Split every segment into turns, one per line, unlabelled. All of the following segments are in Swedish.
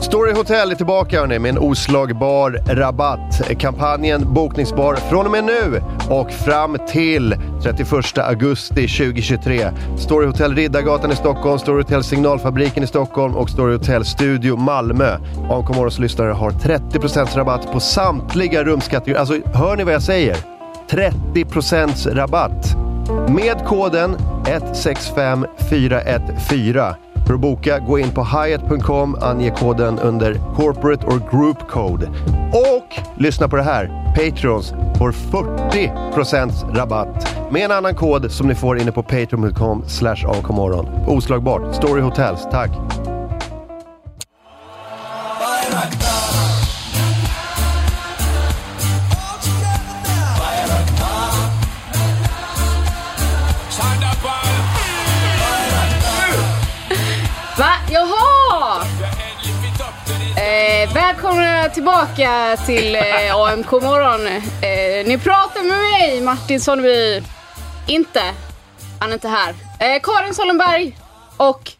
Story Hotel är tillbaka hörni, med en oslagbar rabatt. Kampanjen bokningsbar från och med nu och fram till 31 augusti 2023. Story Hotel Riddargatan i Stockholm, Story Hotel Signalfabriken i Stockholm och Story Hotel Studio Malmö. AMK Morgons lyssnare har 30% rabatt på samtliga rumskategorier. Alltså, hör ni vad jag säger? 30% rabatt! Med koden 165414. För att boka, gå in på hyatt.com, ange koden under corporate or group code. Och lyssna på det här, Patrons får 40% rabatt med en annan kod som ni får inne på patreon.com slash avkommorgon. Oslagbart, Story Hotels, tack!
Va? Jaha! Eh, välkomna tillbaka till eh, AMK morgon. Eh, ni pratar med mig Martin Sonneby. Inte. Han är inte här. Eh, Karin Sollenberg och...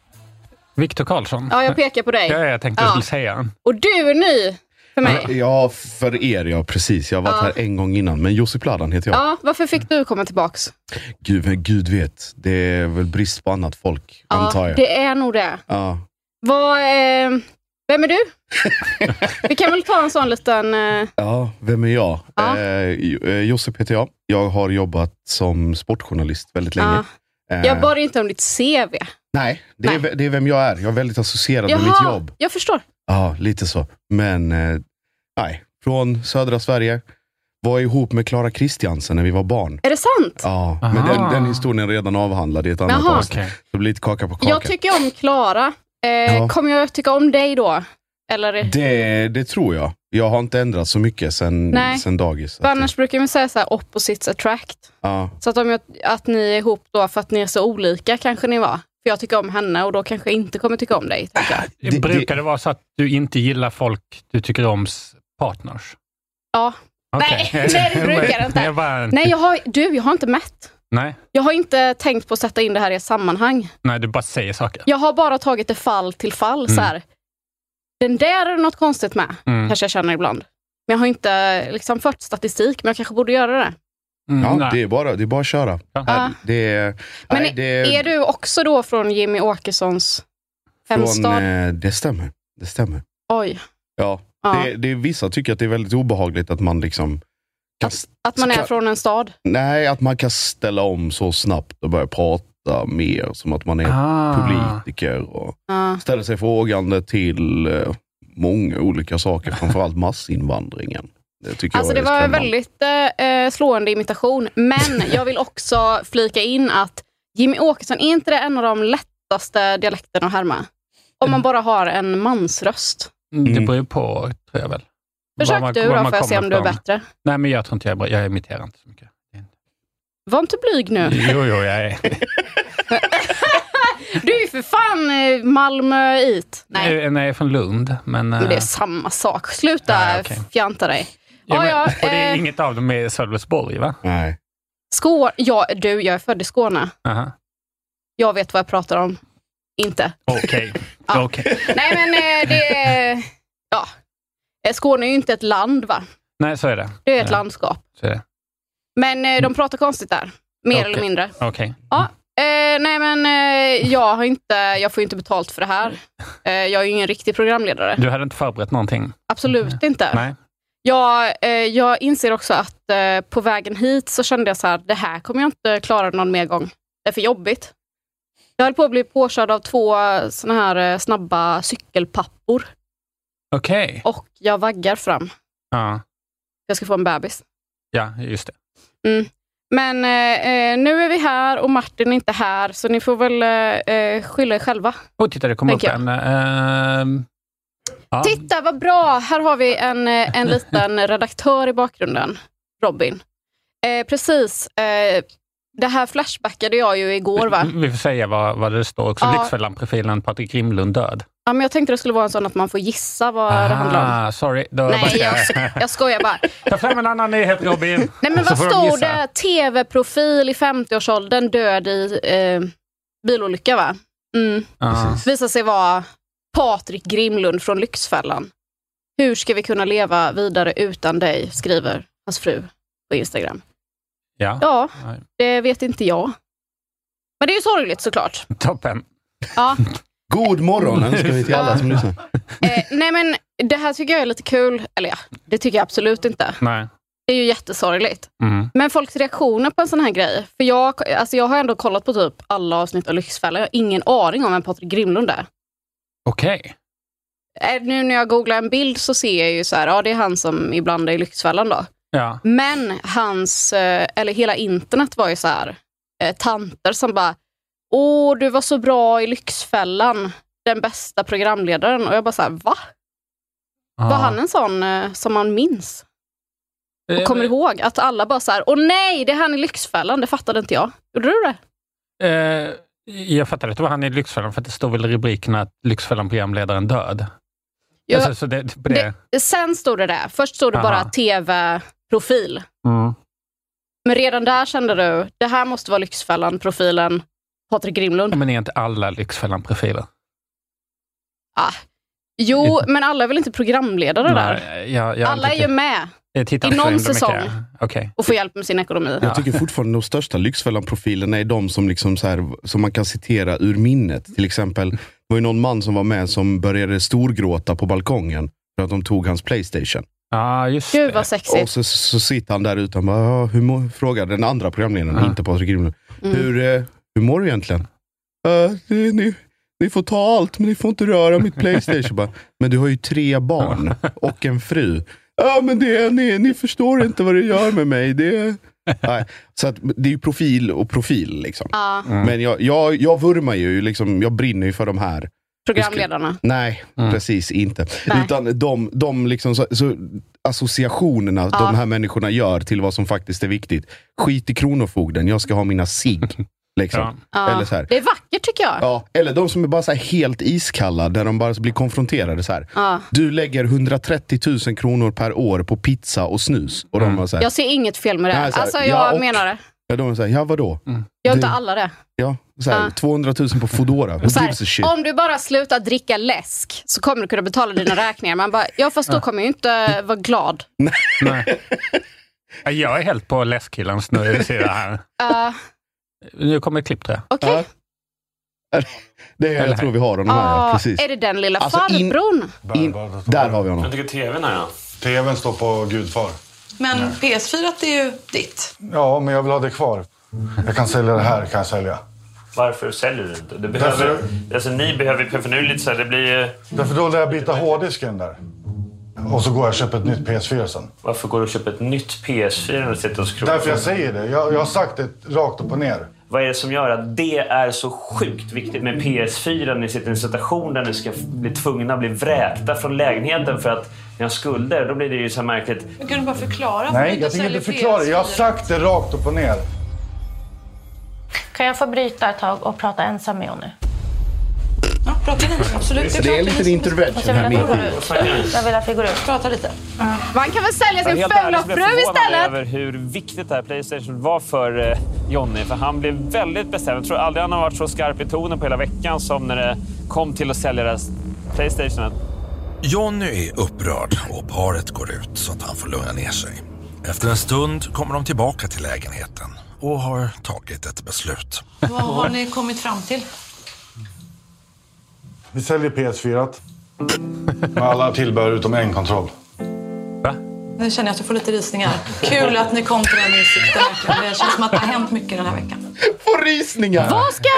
Viktor Karlsson.
Ja, jag pekar på dig.
Ja, jag tänkte
Ja.
jag skulle säga.
Och du är ny för mig.
Ja, för er ja, precis. Jag har varit här en gång innan, men Josip Ladan heter jag.
Ja, varför fick du komma tillbaks?
Gud, men Gud vet, det är väl brist på annat folk, antar
Ja,
jag.
det är nog det.
Ja.
Vad, eh, vem är du? Vi kan väl ta en sån liten... Eh,
ja, vem är jag?
Ja.
Eh, Jo- eh, Josip heter jag. Jag har jobbat som sportjournalist väldigt länge.
ja. Jag
Eh,
bad inte om ditt CV.
Nej, det är,
Nej.
det är vem jag är. Jag är väldigt associerad med mitt jobb.
jag förstår.
Ja, lite så. Men eh, nej, från södra Sverige. Var ihop med Klara Kristiansen när vi var barn.
Är det sant?
Ja,
Aha.
men den, den historien är redan avhandlad i ett annat
Jaha.
avsnitt.
Okej.
Det blir lite kaka på kaka.
Jag tycker om Klara. Eh,
Ja.
Kommer jag tycka om dig då? Eller?
Det, det tror jag. Jag har inte ändrat så mycket sen,
Nej.
sen dagis.
För annars brukar man säga så här, opposites attract.
ja,
Så att om jag, att ni är ihop då för att ni är så olika kanske ni var. För jag tycker om henne och då kanske jag inte kommer tycka om dig. tänker jag.
Det-
Brukar det vara så att du inte gillar folk du tycker oms partners?
Ja. Nej,
Okej.
nej, det brukar det inte.
Jag bara, nej.
Nej, jag har, du, jag har inte mätt.
Nej,
Jag har inte tänkt på att sätta in det här i ett sammanhang.
du bara säger saker.
Jag har bara tagit det fall till fall. Så här. Den där är det något konstigt med,
Mm.
kanske jag känner ibland. Men jag har inte liksom, fört statistik, men jag kanske borde göra det.
Mm,
ja
nej.
det, är bara, det är bara att köra.
Ja.
Ja, Det är,
Ah. Men
nej, det
Är du också då från Jimmy Åkessons
från,
hemstad?
eh, Det stämmer. Det stämmer.
Oj.
Ja,
Ja.
Det, det, vissa tycker att det är väldigt obehagligt att man liksom kan,
Att man är
såklart.
från en stad?
nej, att man kan ställa om så snabbt och börja prata mer som att man är
Ah.
politiker och
Ja.
ställer sig frågande till eh, många olika saker, framförallt massinvandringen. Det tycker
Alltså
jag
det
är
var en
skrämmande.
väldigt eh, eh, slående imitation, men jag vill också flika in att Jimmy Åkesson, är inte det en av de lättaste dialekterna att härma? Om man bara har en mansröst.
Det
Mm.
beror på, tror jag väl. Var
Försök
man-
du
var
då,
man
får jag se
kommer
om du är
ifrån.
bättre.
Nej, men jag tror inte jag är bra. Jag imiterar inte så mycket.
Var inte blyg nu.
Jo, jo, jag är...
Du är ju för fan eh, Malmöit. Nej,
Nej. jag är från Lund, men... eh,
men det är samma sak. Sluta
Nej, okej.
fjanta dig.
ja, men,
ja,
och det är
eh.
inget av dem är Sölvesborg, va?
Nej.
Skå ja, du, jag är född i Skåne.
Aha.
Jag vet vad jag pratar om. Inte.
Okej.
Ja.
Okej.
Nej, men eh, det är... Ja. Eh, Skåne är ju inte ett land, va?
Nej, så är det.
Det är ett
Ja.
landskap.
Så är det.
Men eh, de pratar konstigt där. Mer
Okej.
eller mindre.
Okej.
Eh, nej, men eh, jag, har inte, jag får ju inte betalt för det här. Eh, jag är ju ingen riktig programledare.
Du hade inte förberett någonting?
Absolut inte.
Nej.
Jag, eh, jag inser också att eh, på vägen hit så kände jag så här, det här kommer jag inte klara någon mer gång. Det är för jobbigt. Jag höll på att bli påkörd av två eh, såna här eh, snabba cykelpappor
Okej.
och jag vaggar fram.
Ja.
Jag ska få en bebis.
ja, just det.
Mm. Men eh, eh, nu är vi här och Martin är inte här, så ni får väl eh, eh, skylla er själva.
Och titta, det kommer upp
Tänker
en... ehm, ja.
Titta vad bra! Här har vi en, eh, en liten redaktör i bakgrunden, Robin. Eh, precis. Eh, det här flashbackade jag ju igår va?
Vi får säga vad, vad det står också.
Ja.
Lyxfällan-profilen Patrik Rimlund död.
Ja, men jag tänkte det skulle vara en sån att man får gissa vad det handlar om.
Ah, sorry. Då
Nej,
backar
jag,
jag.
sk- jag skojar bara.
Ta fram en annan nyhet Robin.
Nej, men
Ah. Så
vad
får de
stod
gissa.
det? TV-profil i 50-årsåldern död i eh, bilolycka va? Mm.
Ja.
visar sig vara Patrik Grimlund från Lyxfällan. Hur ska vi kunna leva vidare utan dig, skriver hans fru på Instagram.
ja,
Ja,
Nej.
det vet inte jag. Men det är ju sorgligt såklart.
toppen.
Ja.
God morgon önskar vi till alla som lyssnar.
Eh, nej men det här tycker jag är lite kul. Eller ja, det tycker jag absolut inte.
Nej.
Det är ju jättesorgligt.
Mm.
Men folks reaktioner på en sån här grej. För jag, alltså jag har ändå kollat på typ alla avsnitt av Lyxfällan. Jag har ingen aning om vem Patrik Grimlund är.
Okej.
Eh, Nu när jag googlar en bild så ser jag ju så här, ja det är han som ibland är i Lyxfällan då.
Ja.
Men hans, eh, eller hela internet var ju så här, eh, tanter som bara, åh du var så bra i Lyxfällan, den bästa programledaren. Och jag bara så här, va? Var han en sån eh, som man minns? Och
Eh,
kommer ihåg att alla bara så här, åh nej, det är han i Lyxfällan, det fattade inte jag. Gjorde du det?
Eh, jag fattar att det var han i Lyxfällan, för att det stod väl i rubriken att Lyxfällan-programledaren död.
Jag,
Alltså, så det, på det.
Sen stod det där, först stod det bara
Aha.
tv-profil.
Mm.
Men redan där kände du, det här måste vara Lyxfällan-profilen Patrik Grimlund.
Men är inte alla Lyxfällan-profiler?
Ah. Jo, men alla är väl inte programledare där?
Nej, jag, jag har
Alla
inte
är ju med
Jag tittar
i
inte så
någon
himla mycket.
säsong.
Okej.
och får hjälp med sin ekonomi.
Ja.
Jag tycker fortfarande de största Lyxfällan-profilerna är de som, liksom så här, som man kan citera ur minnet. Till exempel, det var ju någon man som var med som började storgråta på balkongen för att de tog hans Playstation.
Ja, just
Gud
det.
vad sexigt.
Och så, så sitter han där utan bara, "Ja, hur mår, frågar den andra programledaren,
Ja.
inte Patrik Grimlund.
Mm.
Hur, eh, hur mår du egentligen? "Eh, det- ni, ni får ta allt, men ni får inte röra mitt Playstation. bara, men du har ju tre barn och en fru. Ja, men det, ni, ni förstår inte vad det gör med mig. Det, nej. Så att, det är ju profil och profil. Liksom.
Ja,
Men jag, jag, jag vurmar ju, liksom, jag brinner ju för de här
programledarna.
Nej, precis inte.
Nej.
Utan de, de liksom så, så associationerna de här människorna gör till vad som faktiskt är viktigt. Skit i Kronofogden, jag ska ha mina sig. Liksom.
Ja.
Ja.
Eller så här.
Det är vackert tycker jag. Ja.
Ja, eller de som är bara så här helt iskalla, där de bara blir konfronterade. så här. Du lägger 130 000 kronor per år på pizza och snus. Och de bara så här,
Jag ser inget fel med det.
Nej, så här,
alltså, jag
ja, och-
menar det.
ja, de är så här, ja vadå?
Gör inte
Det-
alla det.
Ja, så här,
Ja.
200 000 på Foodora. Who
Så
gives a shit?
här, om du bara slutar dricka läsk så kommer du kunna betala dina räkningar. Man bara, ja fast då kommer jag ju inte vara glad.
Nej. Ja, Jag är helt på läskkillens nu, sida här.
Uh,
Nu kommer ett klipp tror jag.
Okej.
Ja. Det är, jag tror vi har honom här, ja,
Ah,
precis.
är det den lilla
Alltså, in-
farbrorn?
In, där har vi honom.
Jag tycker tvn är jag.
TVn står på gudfar.
Men PS4 är ju ditt.
Ja, men jag vill ha det kvar. Jag kan sälja det här, kan jag sälja.
Varför säljer du inte? Det behöver, alltså, ni behöver, för nu är det lite så här, det blir ju-
Därför då lär jag byta hårddisken där. Och så går jag och köper ett nytt PS4 sen.
Varför går du och köper ett nytt PS4 när du sitter och scrollar?
Därför jag säger det. Jag, jag har sagt det rakt upp och ner.
Vad är det som gör att det är så sjukt viktigt med PS4 när ni sitter i en situation där ni ska bli tvungna att bli vräkta från lägenheten för att ni har skulder? Då blir det ju så här märkligt.
Du kan du bara förklara.
Nej, jag tänker inte förklara. det. Jag har sagt det rakt upp och ner.
Kan jag få bryta ett tag och prata ensam med Jonny?
Ja, prata lite. Absolut.
Så det är en liten
Jag
intervention
vill
här
att
mitt
vi
i.
går ut. Jag vill att vi går ut.
Prata lite.
Man kan väl sälja sin
Helt ärligt
fula
så blev
fru
förvånad
istället?
över hur viktigt det här Playstation var för eh, Jonny. För han blev väldigt bestämd. Jag tror aldrig han har varit så skarp i tonen på hela veckan som när det kom till att sälja deras Playstation.
Johnny är upprörd och paret går ut så att han får lugna ner sig. Efter en stund kommer de tillbaka till lägenheten och har tagit ett beslut.
Vad har ni kommit fram till?
Vi säljer PS4. Med alla tillbehör utom en kontroll.
Va?
Nu känner jag att jag får lite risningar. Kul att ni kom till den insikten. verkligen. Det känns som att det har hänt mycket den här veckan.
Får risningar!
Vad ska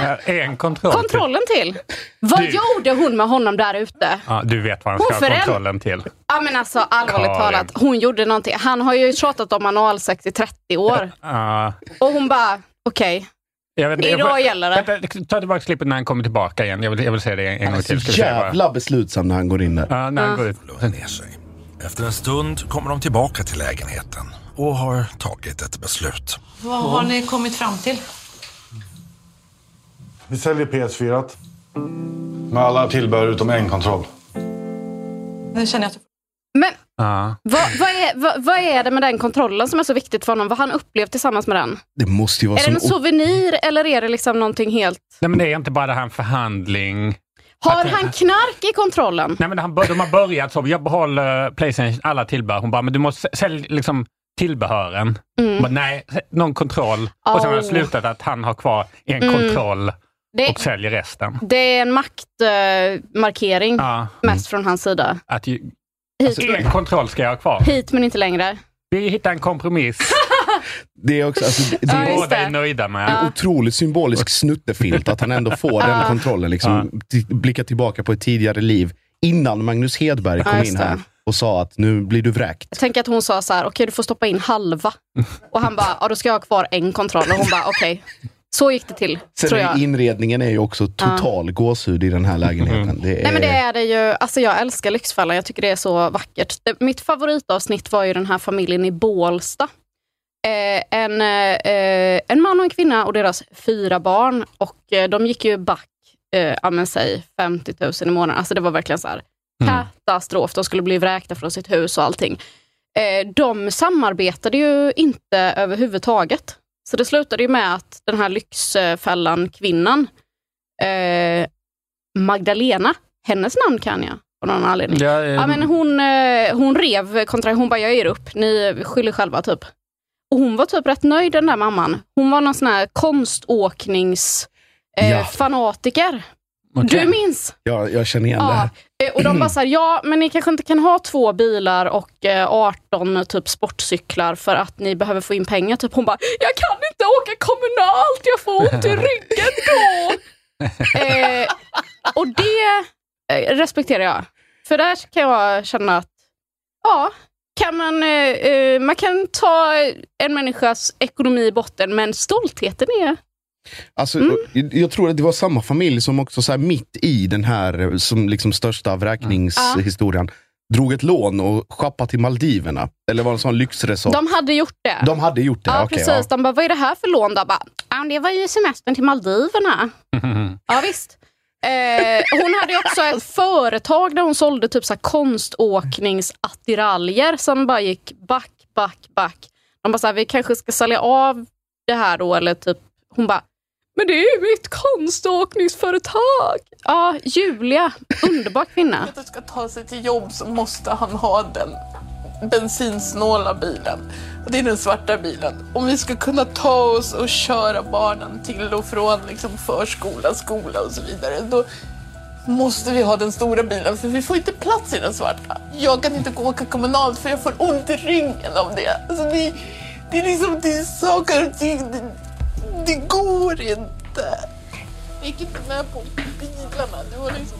han ha
Ja, En kontroll.
kontrollen till? Vad
Du.
gjorde hon med honom där ute?
Ja, du vet vad han ska
Hon
ha
föränd-
kontrollen till.
Ja men alltså allvarligt
Karin.
talat, hon gjorde någonting. Han har ju tjatat om analsex i 30 år.
Ja.
Och hon bara, okej.
Jag vet,
Idag gäller det.
Vänta, ta tillbaka klippet när han kommer tillbaka igen. Jag vill, jag vill säga det en,
Alltså,
en gång till. Ska vi se vad-
Jävla beslutsam när han går in där.
Ja, när han går ut.
Lugna ner sig. Efter en stund kommer de tillbaka till lägenheten och har tagit ett beslut.
Vad har ni kommit fram till?
Vi säljer PS4 -t. med alla tillbehör utom en kontroll.
Nu känner jag att
Men
Ja.
vad, vad, är, vad, vad är det med den kontrollen som är så viktigt för honom? Vad har han upplevt tillsammans med den?
Det måste ju vara
är det en
som...
souvenir eller är det liksom någonting helt...
Nej, men det är inte bara han förhandling.
Har han knark i kontrollen?
Nej, men han, bör- de har börjat så. Jag behåller Playstation, alla tillbehör. Hon bara, men du måste sä- sälj liksom tillbehören.
Mm.
Hon Bara, Nej, sä- någon kontroll. Och sen har det
Oh.
slutat att han har kvar en
Mm.
kontroll
Det-
och säljer resten.
Det är en maktmarkering
Ja,
mm.
mest från hans sida.
att ju,
Hit,
alltså, en kontroll ska jag ha kvar.
hit men inte längre.
Vi hittar en kompromiss
Det är också... Alltså, det, det
som
är
båda är nöjda med.
en otroligt symbolisk snuttefilt att han ändå får den
Ja.
kontrollen. Liksom, t- Blicka tillbaka på ett tidigare liv innan Magnus Hedberg
Ja,
kom
just
in
det.
här och sa att nu blir du vräkt.
Jag tänker att hon sa så här, okej du får stoppa in halva. Och han bara, ja då ska jag ha kvar en kontroll. Och hon bara, okej. Så gick det till,
Sen
tror
är
jag.
inredningen är ju också total gåshud i den här
Mm.
lägenheten. Det är,
Nej men det är det ju. Alltså jag älskar Lyxfällan. Jag tycker det är så vackert. Det, mitt favoritavsnitt var ju den här familjen i Bålsta. Eh, en, eh, en man och en kvinna och deras fyra barn. Och eh, de gick ju back, eh, ja men säg 50 000 i månaden. Alltså det var verkligen så här katastrof. De skulle bli vräkta från sitt hus och allting. Eh, de samarbetade ju inte överhuvudtaget. Så det slutade ju med att den här Lyxfällan-kvinnan eh, Magdalena, hennes namn kan jag av någon anledning.
Ja, eh,
Ja, men hon, eh, hon rev kontra, hon bara jag ger upp, ni skyller själva typ. Och hon var typ rätt nöjd den där mamman. Hon var någon sån här konståkningsfanatiker. Eh,
Ja.
fanatiker.
Okej.
Du minns?
Ja, jag känner igen det
Ja.
här.
Eh, Och de bara såhär, ja men ni kanske inte kan ha två bilar och eh, 18 typ sportcyklar för att ni behöver få in pengar. Typ hon bara, jag kan inte åka kommunalt, jag får ont i ryggen då. eh, och det eh, respekterar jag. För där kan jag känna att, ja, kan man, eh, eh, man kan ta en människas ekonomi i botten, men stoltheten är...
Alltså,
Mm.
jag, jag tror att det var samma familj som också så här, mitt i den här eh, som liksom största vräkningshistorien drog ett lån och shoppade till Maldiverna. Eller var det en sån lyxresort?
De hade gjort det.
De hade gjort det?
Ja,
okej,
precis. De bara, vad är det här för lån? Då? Bara, "Ja, det var ju semestern till Maldiverna. Ja, visst. Eh, hon hade ju också ett företag där hon sålde typ så här konståkningsattiraljer som bara gick back, back, back. De bara, så här, vi kanske ska sälja av det här då, eller typ, hon bara, men det är ju mitt konståkningsföretag. Ja, Julia, underbar kvinna.
För att ska ta sig till jobb så måste han ha den bensinsnåla bilen. Och det är den svarta bilen. Om vi ska kunna ta oss och köra barnen till och från liksom förskola, skola och så vidare, då måste vi ha den stora bilen för vi får inte plats i den svarta. Jag kan inte gå och åka kommunalt för jag får ont i ryggen av det. Alltså det, det är liksom, det är saker och ting, det, det går inte. Jag gick inte med på bilarna, det var liksom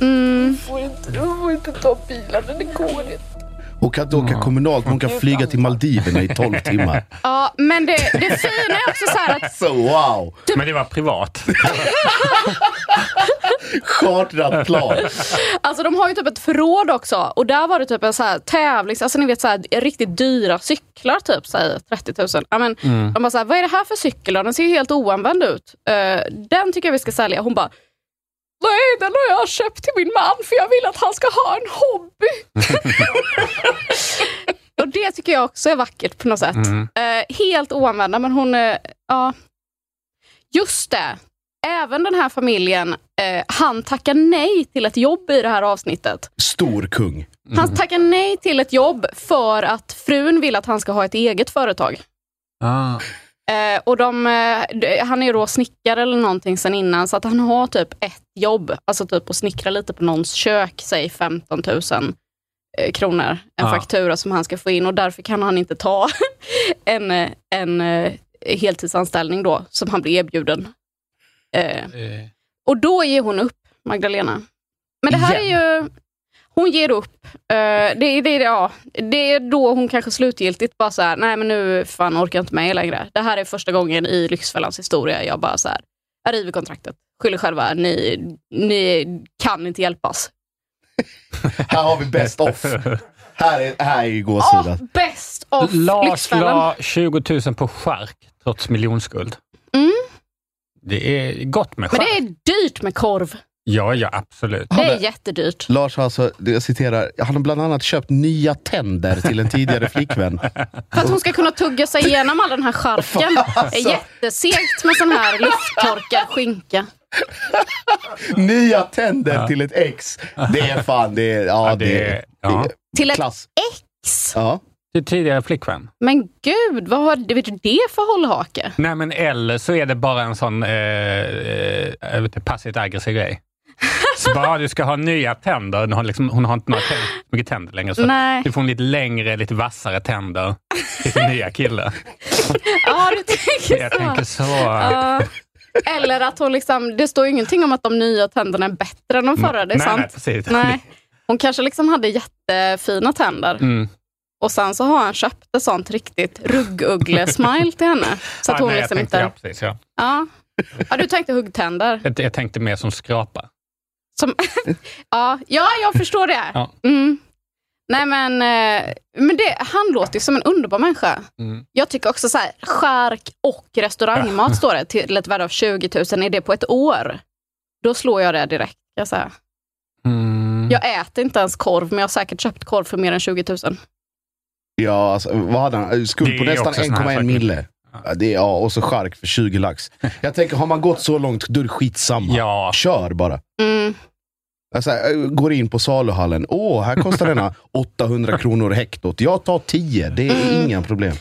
Mm.
du får inte, du får inte ta bilarna, det går inte.
ja. Hon kan inte åka kommunalt, men hon kan flyga till Maldiverna i 12 timmar.
Ja, men det, det fina är också så här att
Så wow!
Men det var privat.
Chartrat plan.
Alltså de har ju typ ett förråd också och där var det typ en så här tävling, alltså ni vet så här, riktigt dyra cyklar typ, så här, 30 000. Ja, men,
Mm.
De bara så här, vad är det här för cykel då? Den ser ju helt oanvänd ut. Eh, den tycker jag vi ska sälja. Hon bara, nej den har jag köpt till min man för jag vill att han ska ha en hobby. och det tycker jag också är vackert på något sätt.
Mm.
Eh, helt oanvända men hon, eh, ja. Just det. Även den här familjen, eh, han tackar nej till ett jobb i det här avsnittet.
Stor kung.
Han tackar nej till ett jobb för att frun vill att han ska ha ett eget företag.
Ah.
Eh, och de, eh, d- han är ju då snickare eller någonting sen innan, så att han har typ ett jobb. Alltså typ att snickra lite på någons kök, säg 15 000 eh, kronor, en
Ja.
faktura som han ska få in och därför kan han inte ta en, eh, en eh, heltidsanställning då, som han blir erbjuden. Eh, och då ger hon upp, Magdalena. Men det här är ju... Hon ger upp. Eh, det, det, ja, det är då hon kanske slutgiltigt bara så här, nej men nu fan orkar jag inte med er längre. Det här är första gången i Lyxfällans historia jag bara så här, jag river kontraktet. Skyll er själva, ni, ni kan inte hjälpas.
Här har vi best off. Här är, här är ju gåshuden.
Best of
Lars
Lyxfällan.
la 20 000 på skärk trots miljonskuld.
Mm.
Det är gott med
Men
skärk.
det är dyrt med korv.
Ja, ja, absolut.
Det är jättedyrt.
Lars har alltså, jag citerar, han har bland annat köpt nya tänder till en tidigare flickvän.
För att hon ska kunna tugga sig igenom all den här charken. Det är jättesegt med sån här lufttorkad skinka.
Nya tänder till ett ex. Det är fan, det är... Ja, det, är
ja.
Till ett
Klass.
ex?
Ja.
Till tidigare flickvän.
Men gud, vad har vet du det för hållhake?
Nej, men eller så är det bara en sån eh, eh, jag vet inte, passivt aggressiv grej. Så bara, du ska ha nya tänder. Hon har, liksom, hon har inte några tänder, så mycket tänder längre. Så
Nej.
Du får en lite längre, lite vassare tänder till sin nya kille.
Ja, du tänker
Jag
så.
tänker så.
Ja. Eller att hon liksom, det står ju ingenting om att de nya tänderna är bättre än de förra, det är
nej,
sant.
nej, precis.
Nej. Hon kanske liksom hade jättefina tänder.
Mm.
Och sen så har han köpt ett sånt riktigt ruggugle-smile till henne. Så att
Ja,
hon
nej, jag
liksom
tänkte, Ja,
inte...
precis, ja.
Ja. ja, du tänkte huggtänder.
jag, jag tänkte mer som skrapa.
Som, ja, ja, jag förstår det.
Ja.
Mm. Nej, men, eh, men det, han låter ju som en underbar människa.
Mm.
Jag tycker också så här, skärk och restaurangmat står det till ett värde av 20 000. Är det på ett år? Då slår jag det direkt. Jag, så
Mm.
här. jag äter inte ens korv, men jag har säkert köpt korv för mer än 20 000.
Ja, alltså, vad hade han?
Det
Skuld på
är
nästan
också sån här
1,1
saker.
mille. Ja, det är, ja, och så chark för 20 lax. Jag tänker, har man gått så långt, då är det skitsamma. Kör bara.
Mm.
Alltså, jag går in på saluhallen. Åh, här kostar denna 800 kronor hektot. Jag tar 10. Det är
Mm.
inga problem.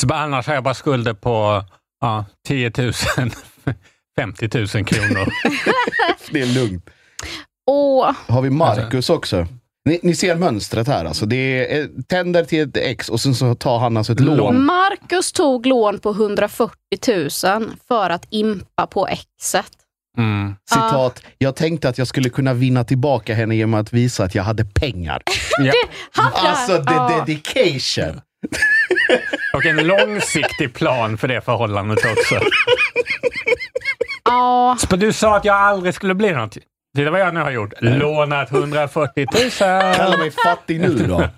Så bara, annars har jag bara skulder på ja, 10 000, 50 000 kronor.
det är lugnt.
Åh,
Har vi
Alltså.
Marcus också? Ni, ni ser mönstret här. Alltså. Det är eh, tänder till ett ex och sen så tar han alltså ett lån.
Marcus tog lån på 140 000 för att impa på exet.
Mm.
Citat. Jag tänkte att jag skulle kunna vinna tillbaka henne genom att visa att jag hade pengar. Alltså, det är dedication.
Och en långsiktig plan för det förhållandet också.
Ja.
Så du sa att jag aldrig skulle bli något. Titta vad jag nu har gjort. Lånat 140 000.
Kalla mig fattig nu då.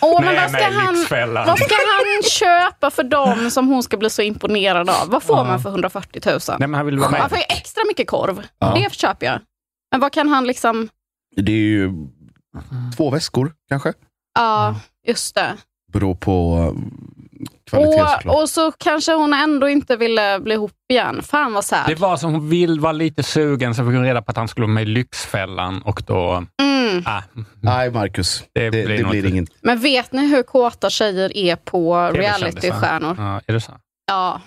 Åh, men
Nej,
vad ska,
nej,
han,
Lyxfällan.
vad ska han köpa för dem som hon ska bli så imponerad av? Vad får
Ja.
man för 140 000?
Nej, men han vill vara med.
Han får ju extra mycket korv.
Ja.
Det köper jag. Men vad kan han liksom...
Det är ju två väskor kanske.
Ja, just det.
Beror på eh, kvalitet såklart.
Och, och så kanske hon ändå inte ville bli ihop igen. Fan vad sad.
Det var som hon vill vara lite sugen, så fick hon reda på att han skulle vara med i Lyxfällan och då...
Mm.
Ah,
Nej, Marcus.
det blir,
det
något-
blir inget.
Men vet ni hur kåta tjejer är på
TV-kändisar.
realitystjärnor?
Ja, är det så?
Ja,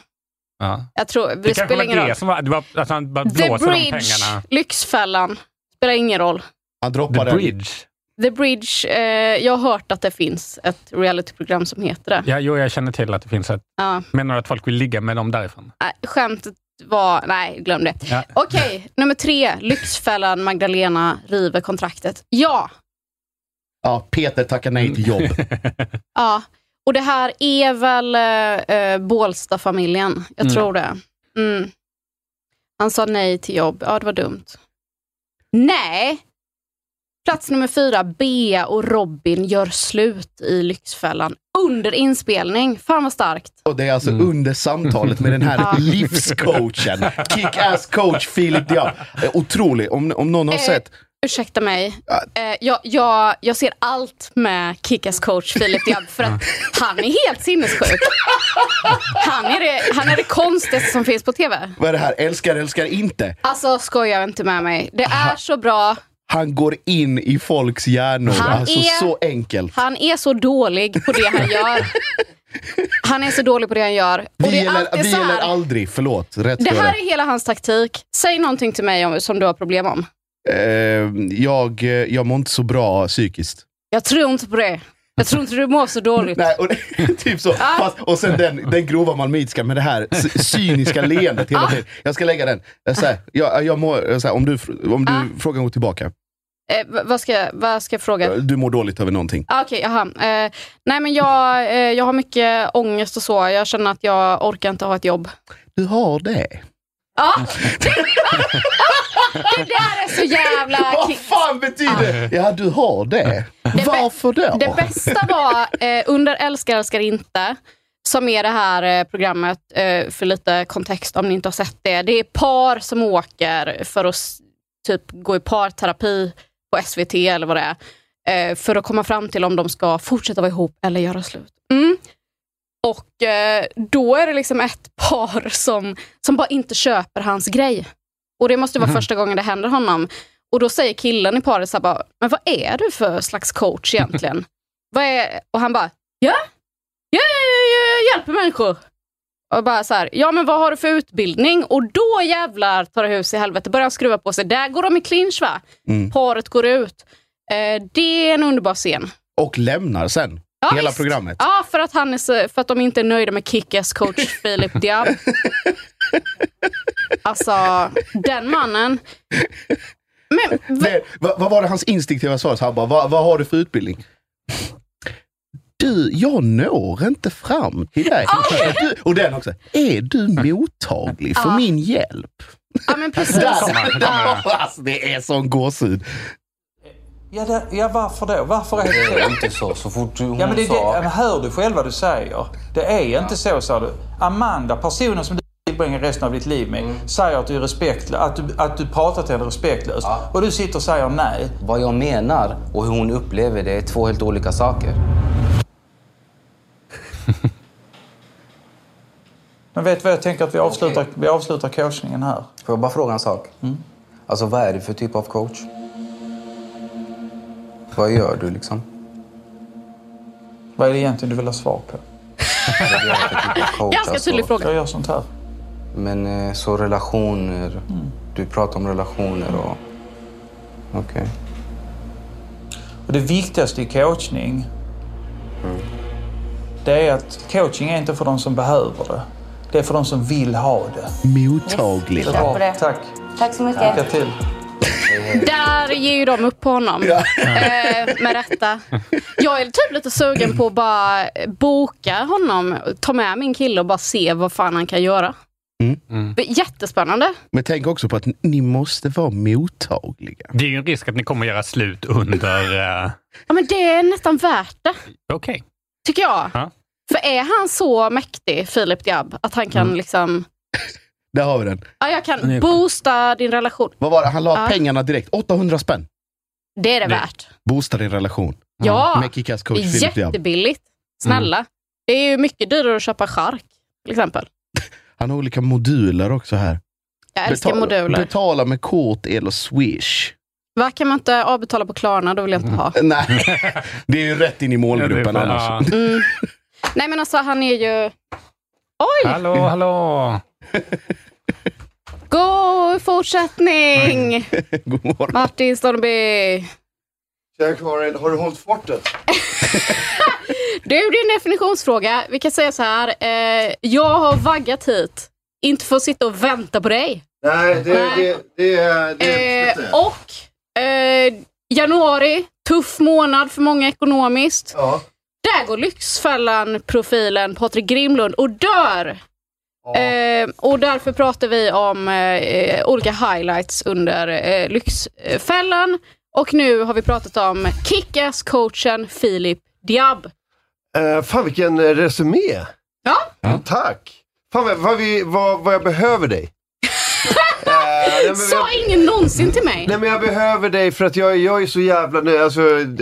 Ja.
jag tror...
Det
Det
kanske
spelar
var
ingen roll.
det som var... Det var alltså han bara
The
blåser de
Bridge,
pengarna.
Lyxfällan. Spelar ingen roll.
Han droppar
The
den.
Bridge.
The Bridge, eh, jag har hört att det finns ett realityprogram som heter det.
Ja, jo, jag känner till att det finns ett.
Ja.
Menar du att folk vill ligga med dem därifrån?
Nej, skämtet var... Nej, glöm det.
Ja.
Okej, nummer tre. Lyxfällan Magdalena river kontraktet. Ja,
Ja, Peter tackar nej till jobb.
ja. Och det här är väl eh, eh, Bålsta-familjen? Jag
Mm.
tror det. Mm. Han sa nej till jobb. Ja, det var dumt. Nej! Plats nummer fyra. Bea och Robin gör slut i Lyxfällan under inspelning. Fan vad starkt.
Och det är alltså under samtalet med den
Ja.
här livscoachen. Kick-ass coach Filip Diab. Eh, Otrolig. Om, om någon har
Eh,
sett.
Ursäkta mig. Eh, jag, jag, jag ser allt med Kickas coach Filip Diab för att han är helt sinnessjuk. Han är, det, han är det konstigaste som finns på tv.
Vad är det här? Älskar, älskar inte.
Alltså skoja inte med mig. Det är så bra.
Han går in i folks hjärnor.
Han
alltså
är-
så enkelt.
Han är så dålig på det han gör. Han är så dålig på det han gör. Och
Vi
det är
eller,
alltid
vi
så
eller
här.
aldrig. Förlåt. Rätt
Det
ska vara
här
rätt.
är hela hans taktik. Säg någonting till mig om, som du har problem om.
Eh, jag, jag mår inte så bra psykiskt.
Jag tror inte på det. Jag tror inte du mår så dåligt.
Nej, och, typ så. Fast, och sen den, den grova malmöitiska med det här sy- cyniska leendet hela tiden. Jag ska lägga den. Jag, så här, jag, jag mår, så här, om du, fr- om du frågan går tillbaka.
Eh, v- vad, ska, jag- vad ska jag fråga?
Du mår dåligt över någonting.
Ah, Okej, jaha. Eh, nej, men jag, eh, jag har mycket ångest och så. Jag känner att jag orkar inte ha ett jobb.
Du har det?
Ja. det där är så jävla...
Vad fan betyder Ja, du har det. Varför då?
Det bästa var eh, under Älskar älskar inte, som är det här eh, programmet, eh, för lite kontext om ni inte har sett det. Det är par som åker för att s- typ gå i parterapi på SVT eller vad det är, eh, för att komma fram till om de ska fortsätta vara ihop eller göra slut. Mm. Och eh, då är det liksom ett par som, som bara inte köper hans grej. Och det måste vara
Mhm.
första gången det händer honom. Och då säger killen i paret så här bara, men vad är du för slags coach egentligen? vad är... Och han bara, ja? Ja, ja, ja, jag hjälper människor. Och bara så här, ja men vad har du för utbildning? Och då jävlar tar det hus i helvete, börjar han skruva på sig. Där går de i clinch va?
Mm.
Paret går ut. Eh, det är en underbar scen.
Och lämnar sen.
Ja,
hela
visst.
programmet.
Ja, för att, han är så, för att de inte är nöjda med Kick-Ass coach Philip Diab. Alltså, den mannen.
Nej, vad, vad var det hans instinktiva svar? Så han bara, vad, vad har du för utbildning? Du, jag når inte fram till dig. Du, och den också. Är du mottaglig för
Ja.
min hjälp?
Ja, men precis.
Där,
Ja.
där, alltså, det är sån gåshud.
Ja, det, ja, varför då? Varför är det så?
inte så, så fort hon
Ja, men det, det,
sa...
ja, men hör du själv vad du säger? Det är inte så, sa du. Amanda, personen som du tillbringar resten av ditt liv med, säger att du är respektlös, att du, att du pratar till henne respektlöst. Och du sitter och säger nej.
Vad jag menar och hur hon upplever det är två helt olika saker.
Men vet du vad, jag tänker att vi avslutar, vi avslutar coachningen här. Mm.
Får jag bara fråga en sak? Alltså vad är du för typ av coach? Vad gör du liksom?
Vad är det egentligen du vill ha svar på?
typ Coach, alltså?
Jag gör sånt här. Mm.
Men eh, så relationer. Du pratar om relationer och... Okej.
Och det viktigaste i coachning, Mm. det är att coaching är inte för de som behöver det. Det är för de som vill ha det.
Mottaglig.
Bra, Tack.
Tack så
Lycka till.
Där ger ju de upp på honom. Eh, med rätta. Jag är typ lite sugen på att bara boka honom, ta med min kille och bara se vad fan han kan göra.
Mm.
Jättespännande.
Men tänk också på att ni- ni måste vara mottagliga.
Det är ju en risk att ni kommer göra slut under... eh,
Ja, men det är nästan värt det,
Okej.
tycker jag.
Ja.
För är han så mäktig, Filip Diab, att han kan
Mm.
liksom...
Där har vi den.
Ja, jag
Han är-
kan boosta din relation.
Vad var det? Han la
Ja.
pengarna direkt. 800 spänn.
Det är det värt.
Boosta din relation.
Ja,
Med Kickass coach
det är
Philip Diab. Mm.
jättebilligt. Snälla. Det är ju mycket dyrare att köpa chark, till exempel.
Han har olika moduler också här.
Jag älskar
Betala-
moduler.
Betala med kort eller swish.
Vad kan man inte avbetala på Klarna? Då vill jag inte ha.
Mm. Nej, det är ju rätt in i målgruppen
Ja, det är fan-
annars.
Mm. Nej, men alltså han är ju... Oj!
Hallå, hallå!
God fortsättning!
God morgon.
Martin Stormby.
Tja Karin, har du hållit fortet?
Du, det är en definitionsfråga. Vi kan säga så här. Eh, jag har vaggat hit. Inte för att sitta och vänta på dig.
Nej, det,
Nej.
det, det, det, det,
Eh, och eh, januari, tuff månad för många ekonomiskt. Där går Lyxfällan-profilen Patrik Grimlund och dör. Eh, och därför pratar vi om eh, olika highlights under eh, Lyxfällan. Och nu har vi pratat om Kick-Ass-coachen Filip Diab.
Eh, fan vilken eh, resumé!
Ja.
Tack! Fan vad, vad, vi, vad, vad jag behöver dig. Eh,
Sa ingen någonsin till mig.
Nej men jag behöver dig för att jag, jag är så jävla nöjd. Alltså,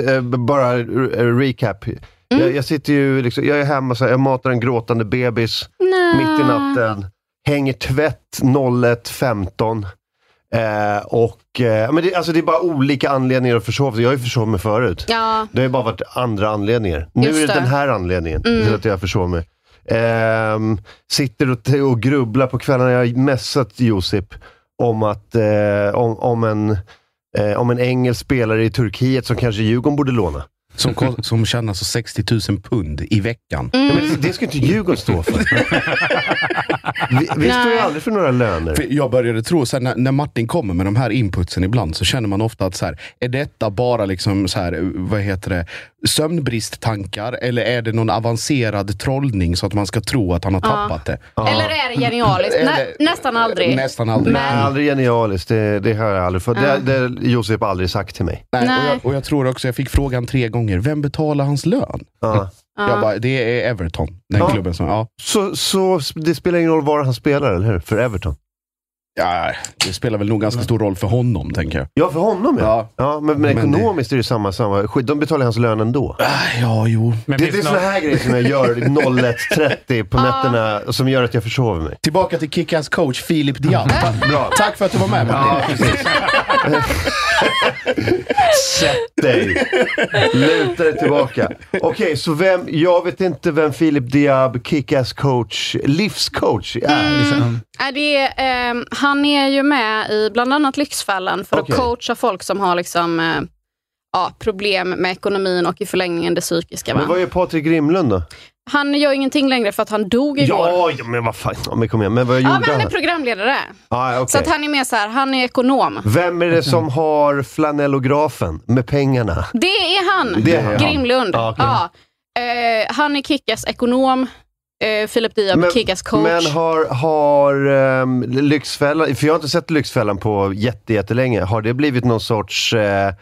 eh, bara eh, recap.
Mm.
Jag, jag sitter ju liksom, jag är hemma, så här, jag matar en gråtande bebis
Nej.
mitt i natten. Hänger tvätt 01.15. Eh, och, eh, men det, alltså det är bara olika anledningar att försova sig. Jag har ju försovit mig förut.
Ja.
Det har ju bara varit andra anledningar. Nu
Just
är det,
det.
den här anledningen
Mm.
till att jag försov mig. Ehm, sitter och, t- och grubblar på kvällarna. Jag har messat Josip om, att, eh, om, om en eh, om en engelsk spelare i Turkiet som kanske Djurgården borde låna.
Som, kost- som tjänar så 60 000 pund i veckan.
Mm.
Ja, men det ska inte Djurgården stå för. vi vi står ju aldrig för några löner.
För jag började tro, så här, när, när Martin kommer med de här inputsen ibland, så känner man ofta att så här, är detta bara liksom så här, vad heter det, sömnbristtankar, eller är det någon avancerad trollning så att man ska tro att han har
Ja.
tappat det?
Eller är det genialiskt? Nä,
Eller-
nästan aldrig.
Nästan aldrig.
Nej, aldrig genialiskt. Det, det har jag aldrig fått.
Ja.
Det, det har Josef aldrig sagt till mig.
Nej,
Nej.
Och, jag, och jag tror också, jag fick frågan tre gånger, vem betalar hans lön?
Ja.
Jag bara, det är Everton, den
Ja.
klubben som... Ja.
Så, så det spelar ingen roll var han spelar, eller hur? För Everton?
Ja, det spelar väl nog ganska stor roll för honom, tänker jag.
Ja, för honom ja. ja. men, men
det- Äh,
ekonomiskt är det samma. samma. skit. De betalar hans lön ändå.
Ja, jo.
det, det är såna här grejer som jag gör 01.30
Ah.
på nätterna som gör att jag försover mig.
Tillbaka till Kick-Ass coach Filip Diab.
Äh.
Bra.
Tack för att du var med Martin.
Sätt dig! Luta dig tillbaka. Okej, så vem, jag vet inte vem Filip Diab, Kick-Ass coach, livscoach
Mm.
är.
Liksom.
Nej, det är, ehm, han är ju med i bland annat Lyxfällan för
Okej.
att coacha folk som har liksom, eh, ja, problem med ekonomin och i förlängningen det psykiska.
Men vad
Va?
gör Patrik Grimlund då?
Han gör ingenting längre för att han dog igår.
Ja, ja, men vad fan. Ja, men kom igen. Men vad gjorde
ja, men han är
han?
programledare.
Ah,
Så
okej.
att han är med så här, han är ekonom.
Vem är det som har flanellografen med pengarna?
Det är han,
Det är han.
Grimlund.
Ja,
Ja,
okej.
Eh, han är Kickas ekonom, eh, Filip Diab Kickas coach.
men har, har ehm, Lyxfällan, för jag har inte sett Lyxfällan på jätte, jättelänge, har det blivit någon sorts eh,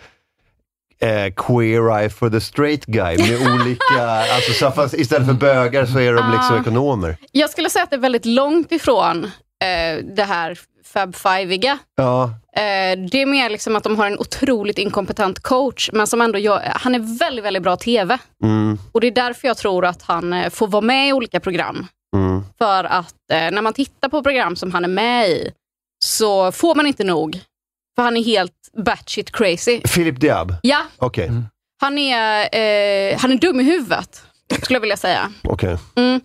eh, queer eye for the straight guy med olika, alltså så fast istället för bögar så är de liksom
Ah.
ekonomer.
Jag skulle säga att det är väldigt långt ifrån eh, det här Fab Five-iga.
Ja,
Eh, det är mer liksom att de har en otroligt inkompetent coach, men som ändå gör, han är väldigt, väldigt bra TV.
mm,
Och det är därför jag tror att han eh, får vara med i olika program.
mm.
För att eh, när man tittar på program som han är med i, så får man inte nog. För han är helt batshit crazy.
Philip Diab?
Ja,
Okej,
han är, eh, han är dum i huvudet, skulle jag vilja säga.
okej.
Mm.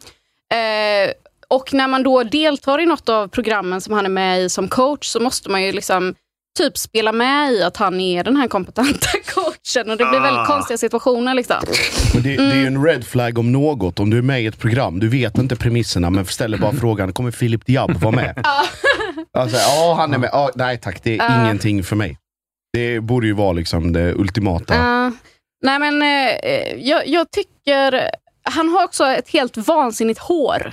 Eh, och när man då deltar i något av programmen som han är med i som coach så måste man ju liksom typ spela med i att han är den här kompetenta coachen och det blir
Ah.
väldigt konstiga situationer. Liksom.
Men det, det är ju en red flag om något, om du är med i ett program. Du vet inte premisserna, men ställer bara frågan, kommer Filip Diab vara med? Alltså, ja, han är med. Ja, nej tack, det är
Ja.
ingenting för mig. Det borde ju vara liksom det ultimata.
Eh, nej men eh, jag, jag tycker, han har också ett helt vansinnigt hår.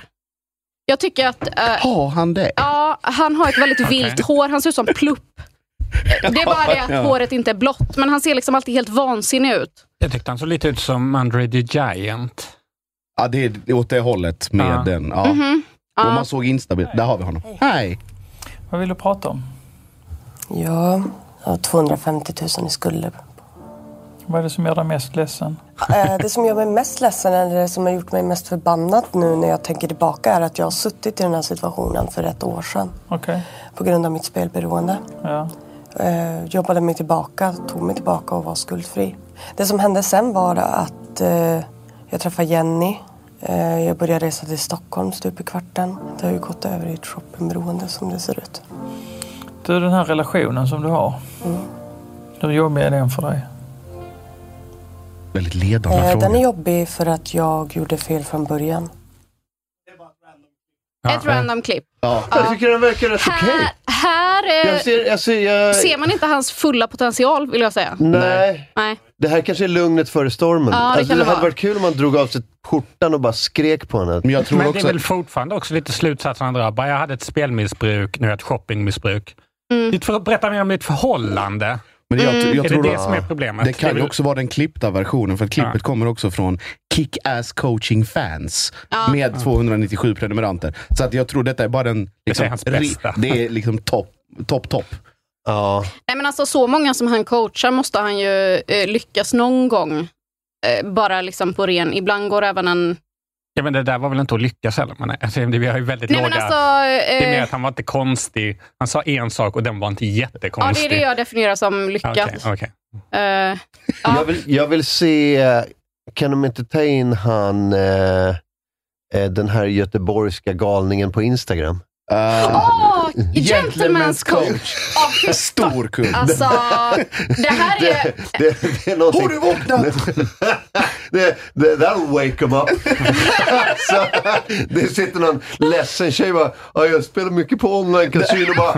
Jag tycker att... eh,
Har han det?
Ja, han har ett väldigt vilt hår. Han ser ut som plupp. Det är bara det att
Ja.
håret inte är blått, men han ser liksom alltid helt vansinnig ut.
Jag tyckte han såg lite ut som Andre the Giant.
Ja, det är åt det hållet med
Ja.
den. Ja.
Mhm.
Om man såg instabil. Där har vi honom. Hej!
Vad vill du prata om?
Ja, jag har 250 000 i skulder.
Vad är det som gör dig mest ledsen?
Eh, Det som gör mig mest ledsen, eller det som har gjort mig mest förbannad nu när jag tänker tillbaka, är att jag har suttit i den här situationen för ett år sedan
Okej.
på grund av mitt spelberoende.
Ja.
Eh, jobbade mig tillbaka, tog mig tillbaka och var skuldfri. Det som hände sen var att eh, jag träffade Jenny. Eh, jag började resa till Stockholm stup i kvarten. Det har ju gått över i ett shoppingberoende som det ser ut.
Du, den här relationen som du har. Hur jobbig är den för dig?
Väldigt ledande
Eh,
fråga.
den är jobbig för att jag gjorde fel från början.
Ett random klipp.
Ja.
Jag tycker den verkar rätt okej.
Här, här eh,
Jag ser, jag ser, jag...
ser man inte hans fulla potential, vill jag säga.
Nej.
Nej.
Det här kanske är lugnet före stormen.
Ja, det
alltså,
kan
det
det
hade
vara.
varit kul om man drog av sig skjortan och bara skrek på henne. Men
jag
men det är väl fortfarande också lite slutsatsen han drar. Bara jag hade ett spelmissbruk, nu har jag ett shoppingmissbruk.
Mm.
Ditt för, berätta mer om ditt förhållande.
Men jag, jag
Mm. är
tror
det det
att-
som är problemet?
Det kan
är
ju
väl-
också vara den klippta versionen, för att klippet kommer också från Kick-Ass Coaching Fans med 297 prenumeranter. Så att jag tror detta är bara den... Liksom,
hans
ri-
bästa.
det är liksom topp, topp, topp.
Ja.
Nej, men alltså, så många som han coachar måste han ju eh, lyckas någon gång. Eh, bara liksom på ren... Ibland går även en...
Ja, men det där var väl inte att lyckas heller? Men alltså, det- vi har ju väldigt
Nej, men
låga...
alltså,
det är mer
eh,
att han var inte konstig. Han sa en sak och den var inte
Ja, det
jättekonstig. Ah,
är det jag definierar som lyckat.
Okej, okej.
Eh,
Jag, vill, jag vill se, kan de inte ta in han, eh, eh, den här göteborgska galningen på Instagram?
Uh,
Åh, Ja, Ah, gentleman's coach. Ah, Ja, fy
Stor kund.
Alltså, det här är...
Det, det, det är någonting... Har du vaknat? det, det, that'll wake him up. så, det sitter någon ledsen tjej bara, ja, jag spelar mycket på online kasino bara,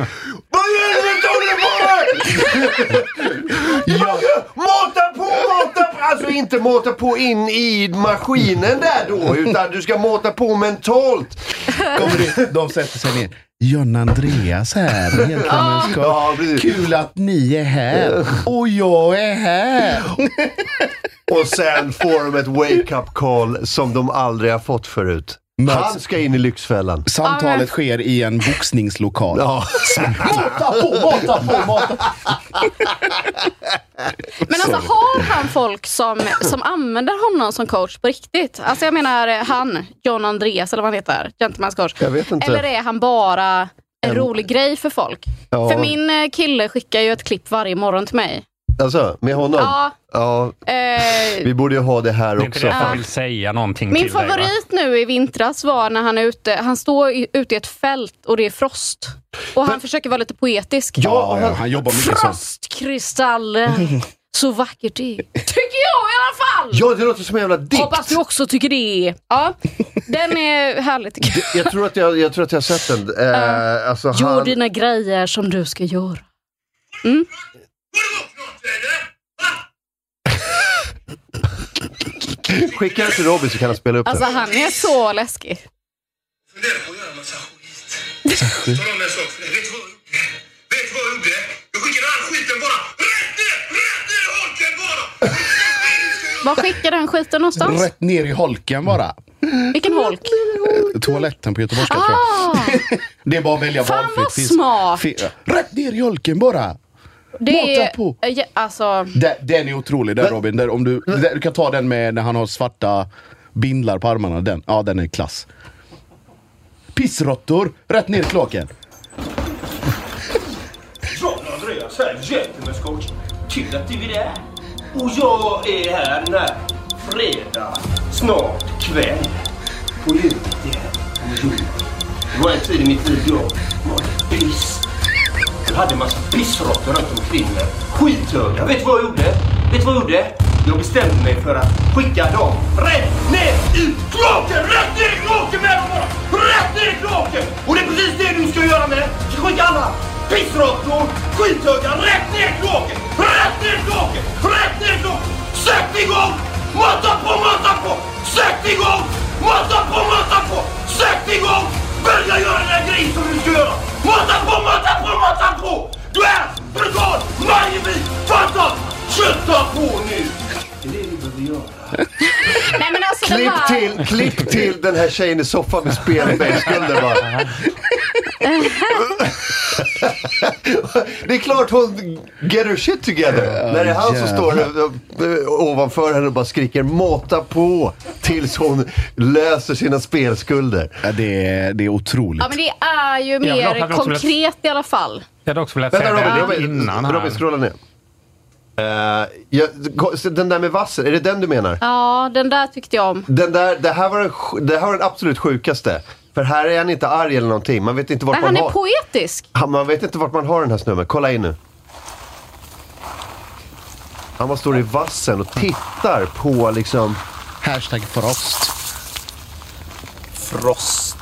vad i helvete håller du på med? Ja. Mata på, mata på! Alltså inte mata på in i maskinen där då, utan du ska mata på mentalt.
Kommer det, de sätter sig ner. John Andreas här. Gentleman's coach.
Ja, precis.
Kul att ni är här. Och jag är här.
Och sen får de ett wake-up call som de aldrig har fått förut. Han ska in i Lyxfällan.
Samtalet sker i en boxningslokal.
Ja.
Mata på, mata på, mata på.
Men alltså har han folk som, som använder honom som coach på riktigt? Alltså jag menar eh, han, John Andreas eller vad han heter, gentleman's coach.
Jag vet inte.
Eller är han bara en rolig grej för folk?
Ja.
För min eh, kille skickar ju ett klipp varje morgon till mig.
Alltså, med honom?
Ja.
Ja,
Eh,
Vi borde ju ha det här
Det är
också.
inte därför jag vill säga någonting
Min
till dig, va?
favorit nu i vintras var när han är ute, han står i, ute i ett fält och det är frost. Och han försöker vara lite poetisk.
Ja, ja, han jobbar mycket sånt.
Frostkristallen, så vackert det är. Tycker jag i alla fall!
Ja, det låter som en jävla dikt.
Hoppas du också tycker det. är. Ja, den är härlig tycker jag.
Jag tror att jag, jag, tror att jag har sett den. Eh, alltså,
Gör
han,
dina grejer som du ska göra. Mm.
Skicka den till Robin så kan han spela upp
Alltså
den.
han är så läskig.
funderar på att göra en massa skit. Tala om en sak för dig. Vet du vad, vet du vad jag gjorde? Jag skickade all skiten bara rätt ner! Rätt ner i holken bara!
Var skickar den skiten någonstans?
Rätt ner i holken bara.
Vilken holk?
Toaletten på Göteborgska tror jag.
Ah,
Det är bara att välja
Fan, vad
Finns-
smart.
fin- Rätt ner i holken bara.
det
Mata
är... Ja, alltså...
Den, den är otrolig där Robin. Där, om du,
Mm.
där, du kan ta den med när han har svarta bindlar på armarna. Den, ja, den är klass. Pissråttor, rätt ner i kloaken.
John Andreas här, gentleman's coach. Kul att du är där. Och jag är här när fredag snart kväll. På ljudet om jorden. Det var en tid i mitt liv jag mådde piss. Jag hade en massa pissråttor runt omkring mig. Skithöga. Vet du vad jag gjorde? Vet du vad jag gjorde? Jag bestämde mig för att skicka dem rätt ner i kloaken! Rätt ner i kloaken med dem bara! Rätt ner i kloaken! Och det är precis det du ska göra med. Du ska skicka alla pissråttor, skithöga, rätt ner i kloaken! Rätt ner i kloaken! Rätt ner i kloaken! Sätt igång! Mata på, mata på! Sätt igång! Mata på, mata på! Sätt igång! Börja göra den här grejen som du ska göra! Mata på, mata på, mata på! Du är brutal, magnifik, fantom! Kötta på nu! Det är det du behöver göra.
Nej, men alltså, det
Klipp
var-
till, klipp till den här tjejen i soffan med spelbänksguldet bara. Det är klart hon get her shit together. När det är han som står eh, ovanför henne och bara skriker mata på tills hon löser sina spelskulder.
Ja, det, är, det är otroligt.
Ja, men det är ju
vill också-
mer
jag vill också vilja-
konkret i alla fall.
Jag hade också velat
Vänta
säga
Robin,
det
Robin,
innan här.
Robin scrolla ner. Eh, jag- den där med vassen, är det den du menar?
Ja, den där tyckte jag om.
Den där, det, här var den, sj- det här var den absolut sjukaste. För här är han inte arg eller någonting. Man vet inte vart
Men
man
han är
har...
poetisk.
Han- Man vet inte vart man har den här snubben. Kolla in nu. Han bara står i vassen och tittar på liksom...
Hashtag frost.
Frost.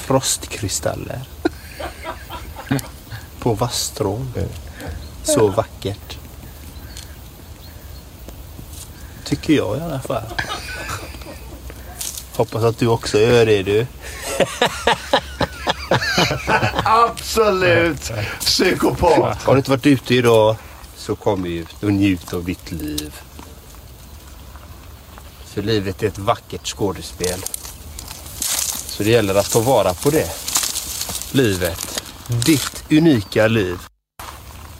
Frostkristaller. På vasstrån. Så vackert. Tycker jag i alla fall. Hoppas att du också gör det du.
Absolut psykopat.
Har du inte varit ute idag så kom ut och njut av ditt liv. För livet är ett vackert skådespel. Så det gäller att ta vara på det. Livet. Ditt unika liv.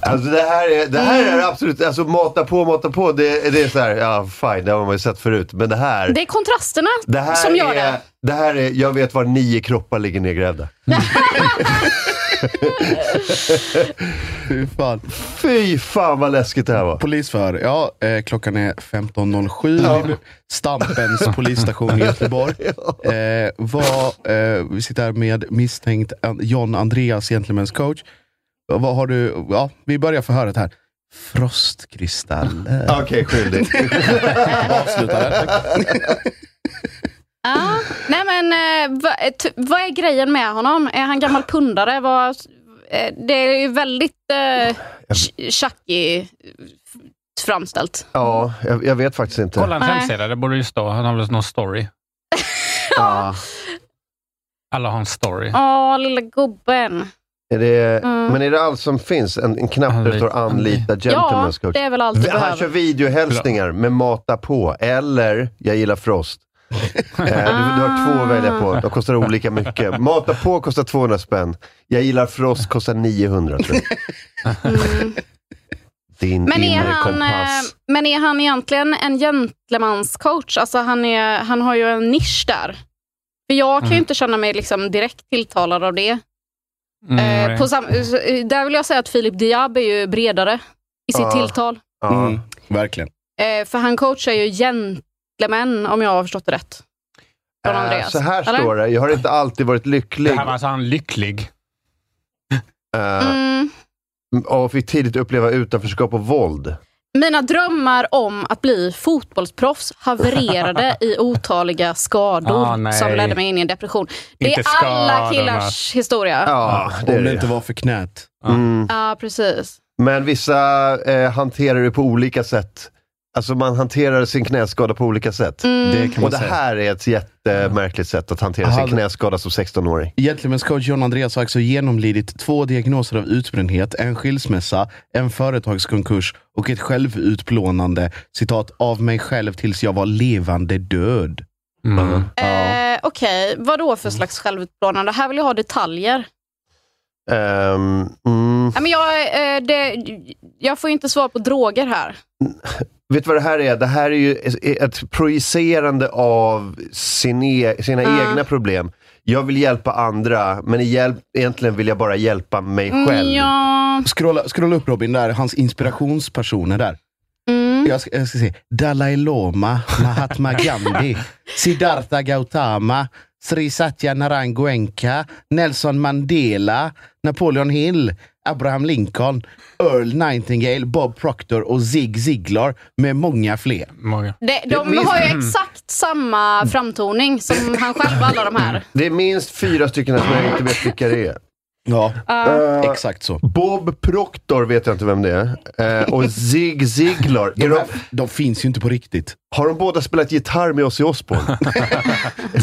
Alltså det här är, det här
Mm.
är absolut... Alltså mata på, mata på. Det, det är så här, ja fine, det har man ju sett förut. Men det här...
Det är kontrasterna
Det här
som gör
är,
det.
det. här är, jag vet var nio kroppar ligger nedgrävda.
Fy fan.
Fy fan vad läskigt det här var.
Polisförhör. Ja, eh, klockan är 15.07. Stampens polisstation i Göteborg. Eh, vad, eh, vi sitter här med misstänkt An- John Andreas, gentlemen's coach. Eh, Vad har du? Ja, vi börjar förhöret här. Frostkristaller.
Okej, skyldig.
Avsluta den.
Ja. Nej men eh, va, eh, ty- vad är grejen med honom? Är han gammal pundare? Vad, eh, det är ju väldigt eh, tj- tjackig eh, framställt.
Ja, jag, jag vet faktiskt inte.
Kolla hans
Nej.
hemsida, där borde ju stå. Han har väl någon story.
ja.
Alla har en story.
Åh, lilla gubben.
Är det,
Mm.
Men är det allt som finns? En, en knapp där det står anlita
Ja,
gentleman's coach?
det är väl allt du
Han kör
behöver.
videohälsningar med mata på, eller jag gillar Frost. eh, du, du har två att välja på, de kostar olika mycket. Mata på kostar 200 spänn. Jag gillar Frost kostar 900 tror jag. Din
Mm. Men är,
inre
han, eh,
kompass.
men är han egentligen en gentlemanscoach? Alltså han, är, han har ju en nisch där. För jag kan ju
Mm.
inte känna mig liksom direkt tilltalad av det.
Mm,
Eh, på sam- eh, där vill jag säga att Filip Diab är ju bredare i sitt
Ah.
Ja.
tilltal.
Mm, verkligen.
Eh, för han coachar ju gentlemän, om jag har förstått det rätt. Från Andreas.
Eh, Så här
eller?
står det, jag har inte alltid varit lycklig.
Eh, Det här var alltså han lycklig.
Eh,
Mm.
Och fick tidigt uppleva utanförskap och våld.
Mina drömmar om att bli fotbollsproffs havererade i otaliga skador
Ah, nej.
som ledde mig in i en depression. Det
Inte
är alla
skadorna.
killars historia.
Ja, det är
Ah, Om
det.
det inte var för knät.
Mm.
Ja, precis.
Men vissa eh, hanterar det på olika sätt. Alltså man hanterar sin knäskada på olika sätt.
Mm.
Det kan man
och det
säga.
här är ett jättemärkligt sätt att hantera
Aha,
sin
det-
knäskada som 16-åring.
Gentlemen's coach John Andreas har alltså genomlidit två diagnoser av utbrändhet, en skilsmässa, en företagskonkurs och ett självutplånande citat av mig själv tills jag var levande död.
Eh, Okej, vad då
Mm.
för slags självutplånande? Här vill jag ha detaljer.
Ehm, mm.
Nej, men jag, eh, det, jag får ju inte svar på droger här.
Vet du vad det här är? Det här är ju ett projicerande av sin e- sina
Ja.
egna problem. Jag vill hjälpa andra, men i hjälp- egentligen vill jag bara hjälpa mig själv.
Mm, Ja.
Scrolla, scrolla upp Robin, där, hans inspirationspersoner där.
Mm.
Jag, ska, jag ska se. Dalai Lama, Mahatma Gandhi, Siddhartha Gautama, Sri Satya Narangoenka, Nelson Mandela, Napoleon Hill, Abraham Lincoln, Earl Nightingale, Bob Proctor och Zig Ziglar med många fler.
Många.
Det, de
Visst.
har ju
Mm.
exakt samma framtoning som han själv, alla de här.
Det är minst fyra stycken här som jag inte vet vilka det är. Eh,
Ja, eh,
Ja.
exakt så.
Bob Proctor vet jag inte vem det är. Eh, och Zig Ziglar. Är de,
de finns ju inte på riktigt.
Har de båda spelat gitarr med Ozzy Osbourne?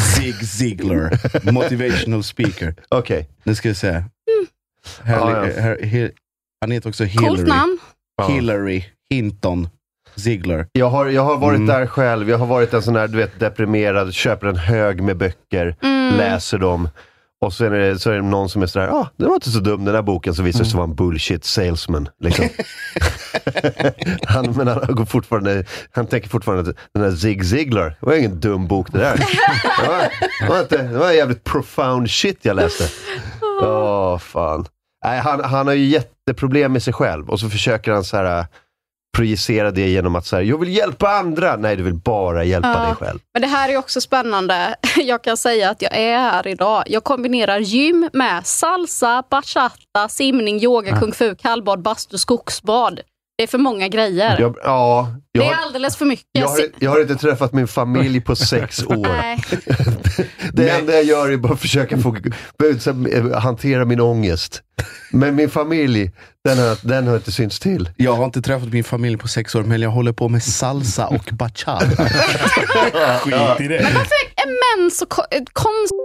Zig Ziglar, motivational speaker.
Okej.
Nu ska vi se. Här,
Ja, ja.
här, här, han heter också Hillary.
Coolt namn.
Hillary Hinton Ziegler.
Jag har, jag har varit
Mm.
där själv. Jag har varit en sån här, du vet, deprimerad, köper en hög med böcker,
Mm.
läser dem. Och så är, det, så är det någon som är sådär, ah, den var inte så dum den där boken, så visar det
Mm.
sig vara en bullshit salesman. Liksom. han, men han, går fortfarande, han tänker fortfarande att den där Zig Ziglar, det var ingen dum bok det där. det, var, det, var inte, det var jävligt profound shit jag läste. Åh, fan. Nej, han, han har ju jätteproblem med sig själv och så försöker han så här, äh, projicera det genom att så här, jag vill hjälpa andra. Nej, du vill bara hjälpa
Ja.
dig själv.
Men det här är ju också spännande. Jag kan säga att jag är här idag. Jag kombinerar gym med salsa, bachata, simning, yoga,
Ja.
kung fu, kallbad, bastu, skogsbad. Det är för många grejer.
Jag, ja, jag,
det
har,
är alldeles för mycket.
jag, har, jag har inte träffat min familj på sex år.
Nej.
Det enda jag gör är bara att försöka få, så här, hantera min ångest. Men min familj, den har, den har inte synts till.
Jag har inte träffat min familj på sex år, men jag håller på med salsa och bachata. Skit i det.
Varför är män så ko- konstiga?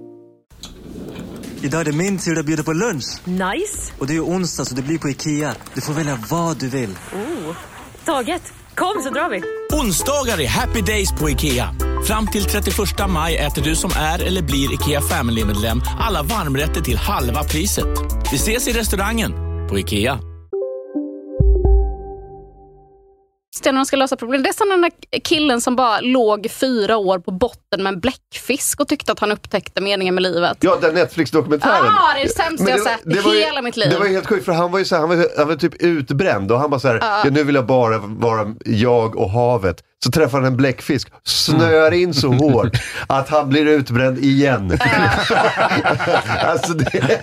Idag är det min tur att bjuda på lunch.
Nice!
Och det är ju onsdag så det blir på IKEA. Du får välja vad du vill.
Oh. Taget! Kom så drar vi!
Onsdagar är happy days på IKEA. Fram till 31 maj äter du som är eller blir IKEA Family-medlem alla varmrätter till halva priset. Vi ses i restaurangen på IKEA.
Sten de ska lösa problem. Det är som den där killen som bara låg fyra år på botten med en bläckfisk och tyckte att han upptäckte meningen med livet.
Ja, den Netflix-dokumentären.
Ah, det är det sämsta
Men
jag sett i
var ju-
hela mitt liv.
Det var ju helt sjukt, för han var ju så här, han var, ju- han var typ utbränd och han bara så här,
Ja.
ja. nu vill jag bara vara jag och havet. Så träffar han en bläckfisk, snöar in
Mm.
så hårt att han blir utbränd igen. alltså, det,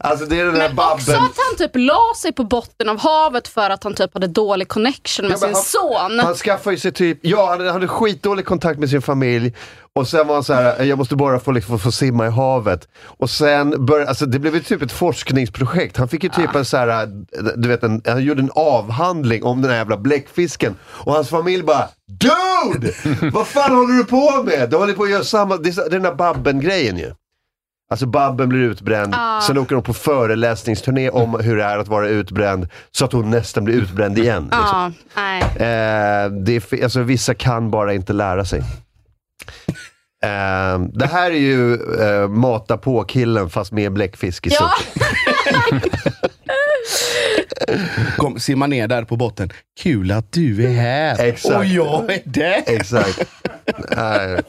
alltså det är den här
Också
babben.
att han typ la sig på botten av havet för att han typ hade dålig connection med
Ja, men
sin
han-
son.
Han skaffade ju sig typ, ja han hade- hade skitdålig kontakt med sin familj och sen var han så här, jag måste bara få, liksom, få simma i havet. Och sen började, alltså det blev ju typ ett forskningsprojekt. Han fick ju
Ah.
typ en så här, du vet, en, han gjorde en avhandling om den här jävla bläckfisken. Och hans familj bara, DUDE! Vad fan håller du på med? De håller på att göra samma, det är så- det är den där Babben-grejen ju. Alltså Babben blir utbränd,
Ah.
sen åker de på föreläsningsturné om hur det är att vara utbränd, så att hon nästan blir utbränd igen.
Ja,
liksom.
nej.
Eh, det är, fe- alltså, vissa kan bara inte lära sig. Eh, det här är ju eh, mata på-killen fast med bläckfisk i
Ja.
suppen.
Kom, simma ner där på botten. Kul att du är här.
Exakt.
Och jag är där.
Exakt. Nej.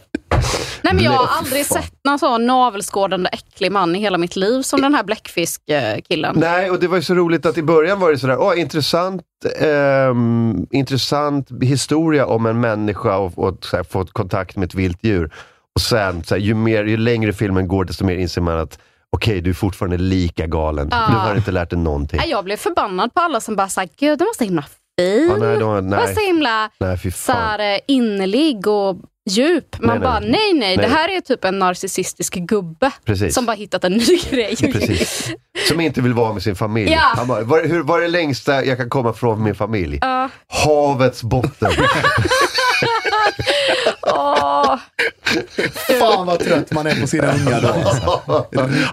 Nej men jag har
Nej,
aldrig
fan.
sett någon sån navelskådande äcklig man i hela mitt liv som den här bläckfiskkillen.
Nej, och det var ju så roligt att i början var det sådär, åh, intressant, ehm, intressant historia om en människa och, och så här, fått kontakt med ett vilt djur. Och sen, så här, ju, mer, ju längre filmen går, desto mer inser man att okej, du är fortfarande lika galen.
Ja.
Du har inte lärt dig någonting.
Nej, jag blev förbannad på alla som bara sa, gud den var så himla fin.
Ja, nej, de var-
Den var
nej.
så himla
Nej, fy
så
fan.
här, eh, innerlig och djup. Man
Nej, nej.
bara, nej, nej det
Nej.
här är typ en narcissistisk gubbe
Precis.
som bara hittat en ny grej.
Precis. Som inte vill vara med sin familj.
Ja.
Han bara, var, hur, var är det längsta jag kan komma från min familj?
Ja.
Havets botten.
Åh.
Fan vad trött man är på sina unga då. alltså.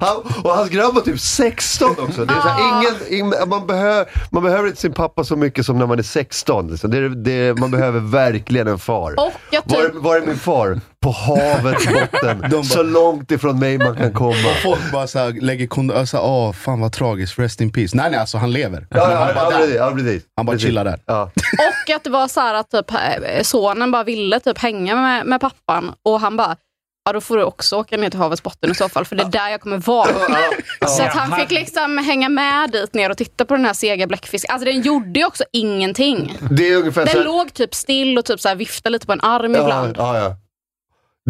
Han, och hans grabb var typ 16 också. Det är så här, ingen, ingen, man, behöver, man behöver inte sin pappa så mycket som när man är 16. Liksom. Det, är- det, man behöver verkligen en far.
Och jag typ-
Var, är- var är min far? På havets botten. så långt ifrån mig man kan komma.
Folk bara så här, lägger kon- alltså, åh, fan vad tragiskt, rest in peace. Nej, nej, alltså han lever.
Ja, ja,
han bara,
ja,
där.
precis, ja, precis.
han bara chillar där.
Och att det var så här att typ, eh, sonen bara ville typ hänga med, med pappan och han bara, ja då får du också åka ner till havets botten i så fall för det är där jag kommer vara. Så att han fick liksom hänga med dit ner och titta på den här sega bläckfisken. Alltså den gjorde ju också ingenting.
Det är ungefär så
Den
här-
låg typ still och typ så här viftade lite på en arm
Ja,
ibland.
ja, ja.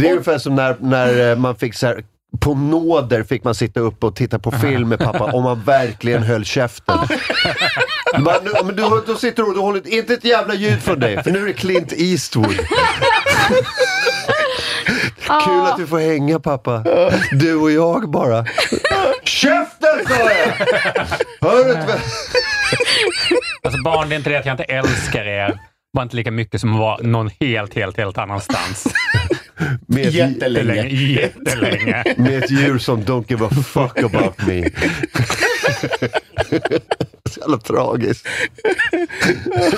Det är ungefär som när, när eh, man fick så här, på nåder fick man sitta upp och titta på film med pappa om man verkligen höll käften. Man, nu, men du, har- då sitter du och du håller inte ett jävla ljud från dig, för nu är det Clint Eastwood. Kul att du får hänga pappa. Du och jag bara. Käften sa
Ah.
jag! Hör du inte?
Alltså barn, det är inte det att jag inte älskar er. Bara inte lika mycket som att vara någon helt, helt, helt annanstans.
Med
Jättelänge. Jättelänge.
Med ett djur som don't give a fuck about me. Så jävla tragiskt.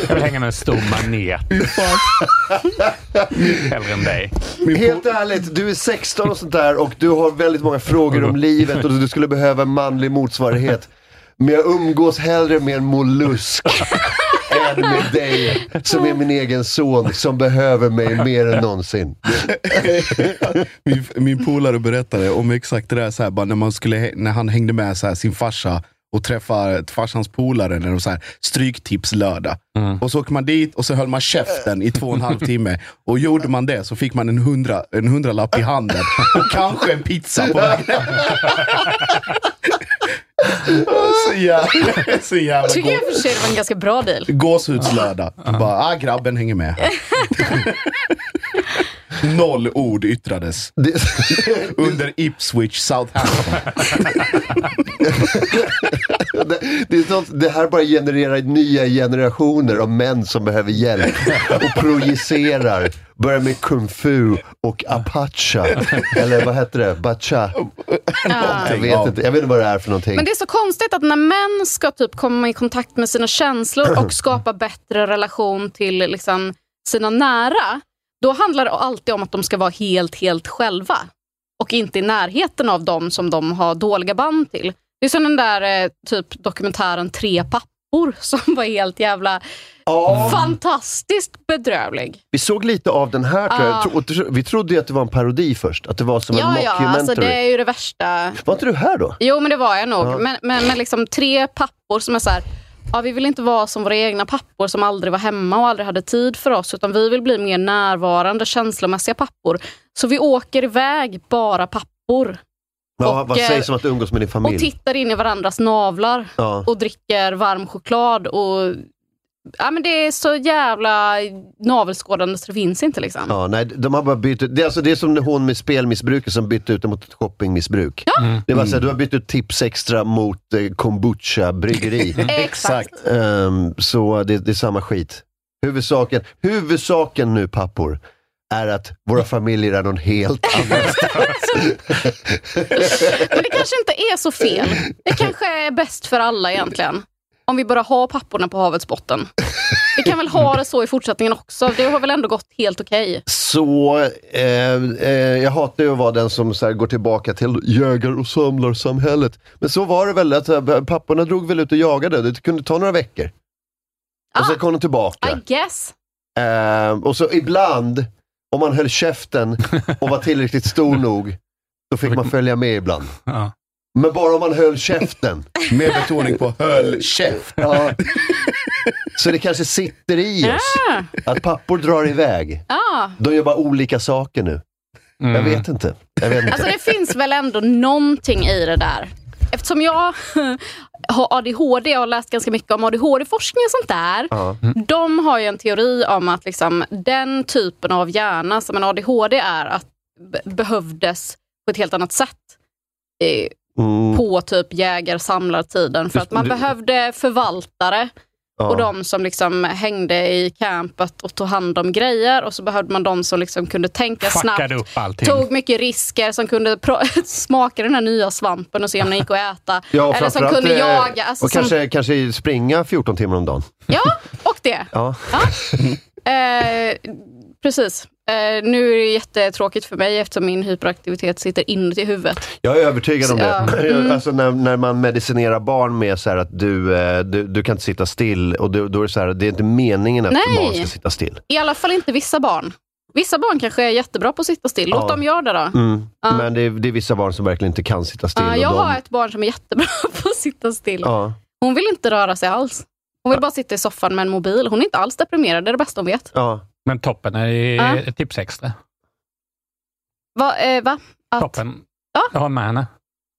Jag vill hänga med en stor manet. Hellre än dig.
Helt ärligt, du är 16 och sånt där och du har väldigt många frågor om livet och du skulle behöva en manlig motsvarighet. Men jag umgås hellre med en mollusk än med dig som är min egen son som behöver mig mer än någonsin.
min, min polare berättade om exakt det där, så här, bara när, man skulle, hä- när han hängde med så här, sin farsa och träffar farsans polare när de så här, stryktips lördag. Och så åker man dit och så höll man käften i två och en halv timme. Och gjorde man det så fick man en, hundra, en hundralapp i handen och kanske en pizza på vägen hem. så jävla, så jävla
Tycker jag i och
gå-
för sig det var en ganska bra deal.
gåshudslördag. Bara, ah, grabben hänger med. här." Noll ord yttrades under Ipswich Southampton.
Det, det, är sånt, det här bara genererar nya generationer av män som behöver hjälp och projicerar. Börjar med kung fu och apacha. Eller vad heter det? Bacha? Jag vet inte. Jag vet inte vad det är för någonting.
Men det är så konstigt att när män ska typ komma i kontakt med sina känslor och skapa bättre relation till liksom sina nära, då handlar det alltid om att de ska vara helt, helt själva och inte i närheten av dem som de har dåliga band till. Det är som den där eh, typ dokumentären Tre pappor som var helt jävla fantastiskt bedrövlig.
Vi såg lite av den här tror jag.
Ah.
Tro- och tro- Vi trodde ju att det var en parodi först. Att det var som en
Ja, ja,
mockumentary.
alltså det är ju det värsta.
Var inte du här då?
Jo, men det var jag nog.
Ja.
Men, men, men liksom tre pappor som är så här, ja, vi vill inte vara som våra egna pappor som aldrig var hemma och aldrig hade tid för oss, utan vi vill bli mer närvarande, känslomässiga pappor. Så vi åker iväg, bara pappor,
Ja,
och,
vad
eh,
sägs om att umgås med din
och
familj?
tittar in i varandras navlar
Ja.
och dricker varm choklad. Och, ja, men det är så jävla navelskådande så det finns inte. Liksom.
Ja, nej, de har bara bytt ut. Det är, alltså, det är som när hon med spelmissbruket som bytte ut det mot ett shoppingmissbruk. Det var så här, du har bytt ut tips extra mot eh, kombucha bryggeri.
Exakt.
Ehm, så det, det är samma skit. Huvudsaken, huvudsaken nu pappor, är att våra familjer är någon helt
Men det kanske inte är så fel. Det kanske är bäst för alla egentligen. Om vi bara har papporna på havets botten. Vi kan väl ha det så i fortsättningen också. Det har väl ändå gått helt okej.
Så eh, eh, jag hatar ju att vara den som så här, går tillbaka till jägar och samlarsamhället. Men så var det väl, att, eh, papporna drog väl ut och jagade. Det kunde ta några veckor. Och sen kom de tillbaka.
Ah, I guess.
Eh, och så ibland, om man höll käften och var tillräckligt stor nog, då fick man följa med ibland. Men bara om man höll käften.
Med betoning på höll käft.
Ja. Så det kanske sitter i oss,
Ah.
att pappor drar iväg.
Ah.
De gör bara olika saker nu. Jag vet inte. Jag vet inte.
Alltså det finns väl ändå någonting i det där. Eftersom jag har ADHD och har läst ganska mycket om ADHD-forskning och sånt där.
Ja.
De har ju en teori om att liksom, den typen av hjärna som en ADHD är, att be- behövdes på ett helt annat sätt eh,
Mm.
på typ jägar-samlartiden. För
Just-
att man
du-
behövde förvaltare
Ja.
och de som liksom hängde i campet och tog hand om grejer. Och så behövde man de som liksom kunde tänka snabbt.
Fuckade upp allting.
Tog mycket risker, som kunde pro- smaka den här nya svampen och se om den gick att äta.
Ja, och
Eller som
framförallt,
kunde
eh,
jaga. Alltså,
och kanske, kanske springa 14 timmar om dagen.
som, ja, och det.
Ja.
Eh, precis. Eh, nu är det jättetråkigt för mig eftersom min hyperaktivitet sitter inuti huvudet.
Jag är övertygad om
Så,
det.
ja. Mm.
Alltså när, när man medicinerar barn med så här att du, eh, du, du kan inte sitta still. Och du, då är det, så här, det är inte meningen att
Nej.
barn ska sitta still.
I alla fall inte vissa barn. Vissa barn kanske är jättebra på att sitta still. Låt
Ja.
dem göra det då.
Mm.
Ja.
Men det är, det är vissa barn som verkligen inte kan sitta still.
Ja,
och
jag
de,
har ett barn som är jättebra på att sitta still.
ja.
Hon vill inte röra sig alls. Hon vill bara sitta i soffan med en mobil. Hon är inte alls deprimerad, det är det bästa hon vet.
Ja.
Men toppen är
Ja.
ett tips extra.
Va? Eh, va? Att...
Toppen. Jag har med henne.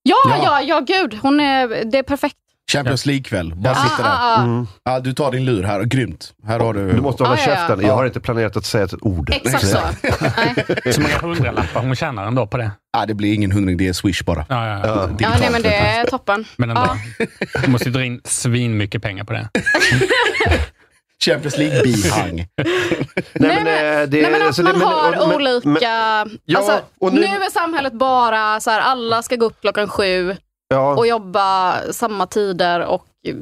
Ja,
Ja.
ja, ja, gud. Hon är, det är perfekt.
Champions League-kväll. Bara
Ja.
sitta där.
Ah, ah, ah.
Ja, du tar din lur här. Grymt. Här har du...
Mm. Du måste hålla
Ah, ja, ja.
käften. Jag har inte planerat att säga ett ord.
Exakt så. Nej.
Så många hundralappar hon tjänar ändå på det.
Ja, det blir ingen hundring. Det är swish bara.
Ja, ja, ja.
Ja, nej, men det är toppen.
Men ändå.
Ja.
Hon måste ju dra in svin mycket pengar på det.
Champions League-bihang.
Nej, men, eh, det,
Nej, men att
så
man
det- men-
har
och- men-
olika...
Ja,
alltså,
och
nu...
nu-
är samhället bara så här, alla ska gå upp klockan sju
Ja.
och jobba samma tider och eh,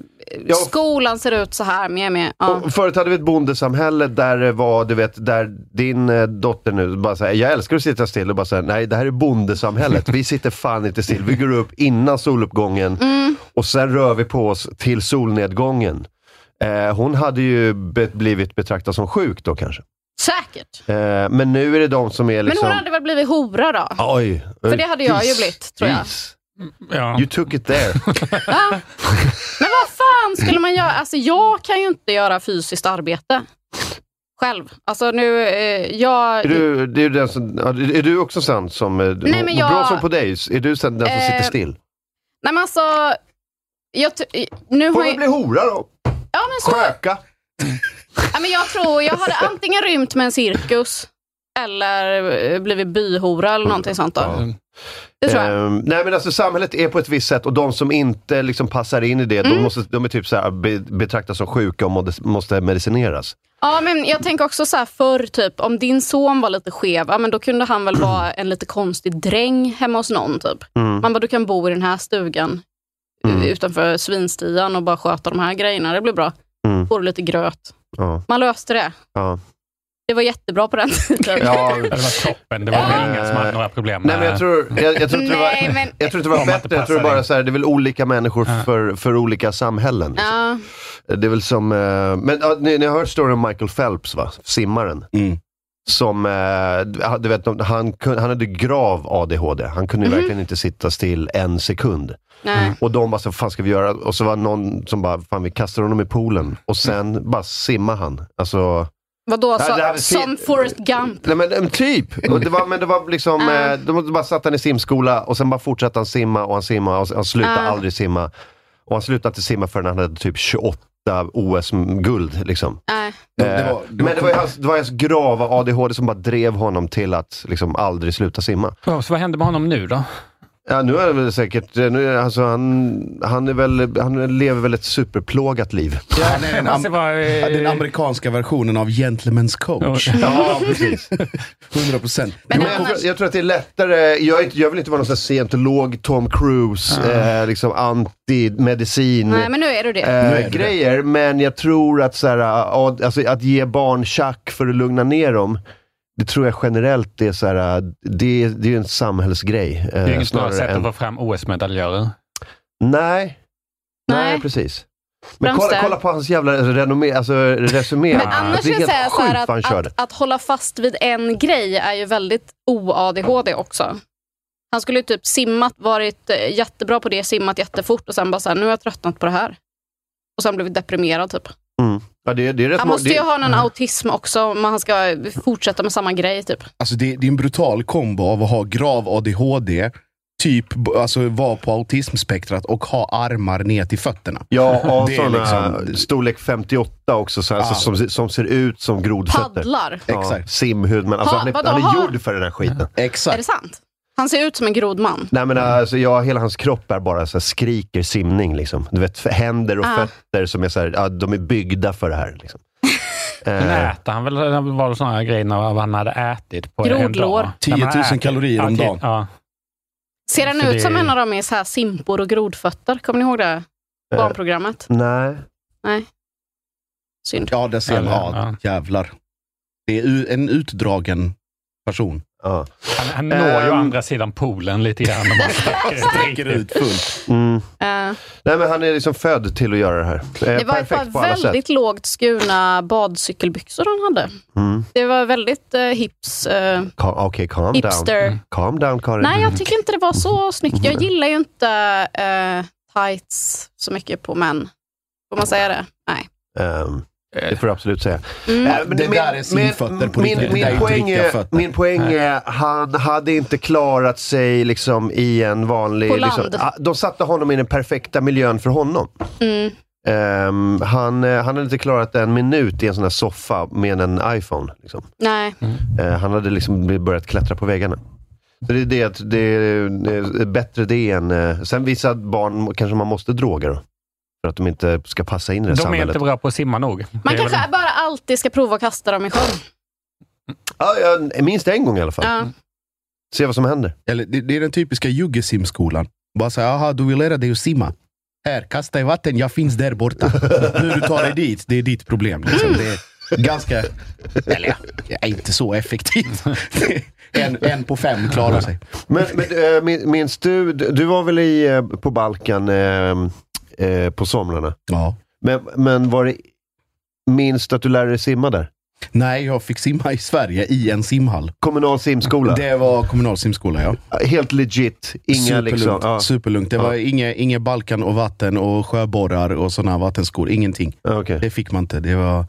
Ja.
skolan ser ut så här. Med, med. Ja.
Och förut hade vi ett bondesamhälle där det var, du vet, där din eh, dotter nu bara säger jag älskar att sitta still och bara säger nej det här är bondesamhället. Vi sitter fan inte still. Vi går upp innan soluppgången
Mm.
och sen rör vi på oss till solnedgången. Eh, hon hade ju be- blivit betraktad som sjuk då kanske.
Säkert.
Eh, men nu är det de som är
Men
liksom...
hon hade väl blivit hora då?
Oj.
För det hade jag ju blivit, tror jag.
Is. You took it there.
Ja. Men vad fan skulle man göra? Alltså, jag kan ju inte göra fysiskt arbete själv. Alltså nu, eh, jag...
Är du, det är, ju den som, ja, är du också sån som... eh,
men
mår
jag-
Bra som på dig, är du sån den som sitter
Eh,
still?
Nej men alltså... Jag, t- nu har
Får du
jag...
bli hora då?
Ja, men så...
Sköka?
Ja, men jag tror jag hade antingen rymt med en cirkus eller eh, blivit byhora eller någonting sånt. Då. Det tror jag.
Ehm, nej men alltså samhället är på ett visst sätt och de som inte liksom passar in i det, de, måste, de är typ så här, be, betraktas som sjuka och måste, måste medicineras.
Ja, men jag tänker också så här förr, typ, om din son var lite skev, ja, men då kunde han väl vara en lite konstig dräng hemma hos någon. Typ.
Mm.
Man bara, du kan bo i den här stugan
Mm.
utanför svinstian och bara sköta de här grejerna. Det blir bra.
Mm.
Får du lite gröt.
Ja.
Man löste det.
Ja.
Det var jättebra på den tiden.
Ja.
Det var toppen. Det var väl ingen som hade några problem
Nej men jag tror, jag, jag tror inte det var,
Nej, men-
jag tror inte det var
Om man inte
bättre, jag tror
passar
bara
in.
så här, det är väl olika människor för, för olika samhällen.
Ja.
Det är väl som, eh, men ja, ni, ni har hört storyn om Michael Phelps va? Simmaren. Som, eh, du vet, de- han, kun- han hade grav ADHD. Han kunde ju verkligen inte sitta still en sekund. Mm.
Nej.
Och de bara, så, vad fan ska vi göra? Och så var det någon som bara, fan vi kastar honom i poolen. Och sen bara simmar han. Alltså,
Vadå,
Det här- det här
så,
var si-
som Forrest Gump?
Nej men en typ! Och det var, men det var liksom, eh, de bara satt han i simskola och sen bara fortsatte han simma och han simma och han slutade
Ah.
aldrig simma. Och han slutade inte simma förrän han hade typ 28 OS-guld. Liksom.
Nej.
Eh, men det var, ju hans, det var hans grava ADHD som bara drev honom till att liksom aldrig sluta simma.
Ja, så vad händer med honom nu då?
Ja, nu är han väl säkert, nu är, alltså, han, han, är väl, han lever väl ett superplågat liv.
Han är den, am-
Alltså, vad, eh,
ja, den amerikanska versionen av Gentleman's coach.
Ja, precis.
100 procent.
Men jag, tror, jag tror att det är lättare, jag, är inte- jag vill inte vara någon sån här scientolog, Tom Cruise, eh, liksom anti-medicin.
Ah. Nej, men nu är du det.
eh,
Nu är du det.
grejer, men jag tror att, så här, ja, alltså, att ge barn tjack för att lugna ner dem, det tror jag generellt det är, så här, det, är- det är en samhällsgrej. eh,
Det är inget bra sätt att få fram OS-medaljörer.
Nej. Nej, precis. Men
Främst
kolla,
där.
kolla på hans jävla renommé, alltså resumé.
Men annars
det
skulle
är
jag säga
helt
så
sjukt
här
vad han
att,
körde.
att, att hålla fast vid en grej är ju väldigt o-ADHD också. Han skulle ju typ simmat, varit eh, jättebra på det, simmat jättefort och sen bara så här, nu har jag tröttnat på det här. Och sen blivit deprimerad typ.
Mm. Ja, det, det är rätt
Han
må-
måste
det- Mm.
ju ha någon autism också om han ska fortsätta med samma grej typ.
Alltså det, det är en brutal kombo av att ha grav ADHD, typ b- alltså, vara på autismspektrat och ha armar ner till fötterna.
Ja, och
Det är
sådana
liksom-
storlek 58 också, så här, så, som, som ser ut som grodfötter.
Paddlar.
Ja,
Exakt.
Simhud, men alltså,
Ha,
han, är,
vadå,
han är
ha?
gjord för den här skiten.
Exakt. Mm.
Är det sant? Han ser ut som en grodman.
Nej men alltså, jag, hela hans kropp är bara så här, skriker simning liksom. Du vet, för händer och
Ah.
fötter som är så här, ja, de är byggda för det här. Liksom.
Men
Eh,
äter han väl, det var väl sådana grejer när vad han hade ätit på en
Grodlår.
dag.
10 000
När man äter-
kalorier om
Ja,
dagen.
Ja.
Ser han
Så
ut
det-
som en av dem i så här simpor och grodfötter? Kommer ni ihåg det?
Eh.
Barnprogrammet?
nej.
Nej. Synd.
Ja, där ser man.
Eller,
Ja, jävlar. Det är u- en utdragen person.
Ja.
Han, han når ju
Ehm.
andra sidan poolen lite grann. om man
Sträcker ut fullt.
Mm.
Eh,
Nej men han är liksom född till att göra det här. Eh,
det var ett
perfekt på
par
alla sätt.
väldigt lågt skurna badcykelbyxor han hade.
Mm.
Det var väldigt eh, hips. eh.
Ka- Okej, calm
Hipster.
down. Calm down Karin.
Nej, jag tycker inte det var så snyggt. Jag gillar ju inte eh, tights så mycket på män. Får man säga det? Nej.
Ehm,
Eh.
det får du absolut säga.
Mm.
Eh, men
Det
min-
där är simfötter på
min,
riktigt. Det
min,
där är inte
poäng
riktiga
är,
fötter.
min poäng är, han hade inte klarat sig liksom i en vanlig...
På
liksom,
land.
ah, de satte honom i den perfekta miljön för honom.
Mm.
Ehm, han, eh, han hade inte klarat en minut i en sån här soffa med en iPhone. Liksom.
Nej.
Eh, han hade liksom börjat klättra på väggarna. Så det är, det, att det är eh, bättre det än... eh, Sen vissa barn kanske man måste droga då. För att de inte ska passa in i det
De är
samhället.
inte bra på att simma nog.
Man
Det är väl-
kanske bara alltid ska prova att kasta dem i sjön.
Alltså,
Ah, Ja, ja, Ehm, minst en gång i alla fall.
Ja.
Se vad som händer.
Eller, det, det är den typiska juggesimskolan. Bara säga, aha, du vill lära dig att simma. Här, kasta i vatten, jag finns där borta. Hur du tar dig dit, det är ditt problem. Liksom. Det är ganska... Eller ja, är inte så effektivt. en, en på fem klarar sig.
Men, men äh, min- minns du, du du var väl i, eh, på Balkan eh, eh, på somrarna?
Ja.
Men, men var det, minns du att du lärde dig simma där?
Nej, jag fick simma i Sverige i en simhall.
Kommunal simskola?
Det var kommunal simskola, ja.
Helt legit. Inga
Superlugnt.
liksom- ja.
Superlugnt. Det var inga, inga Balkan och vatten och sjöborrar och sådana vattenskor. Ingenting. Det fick man inte. Det var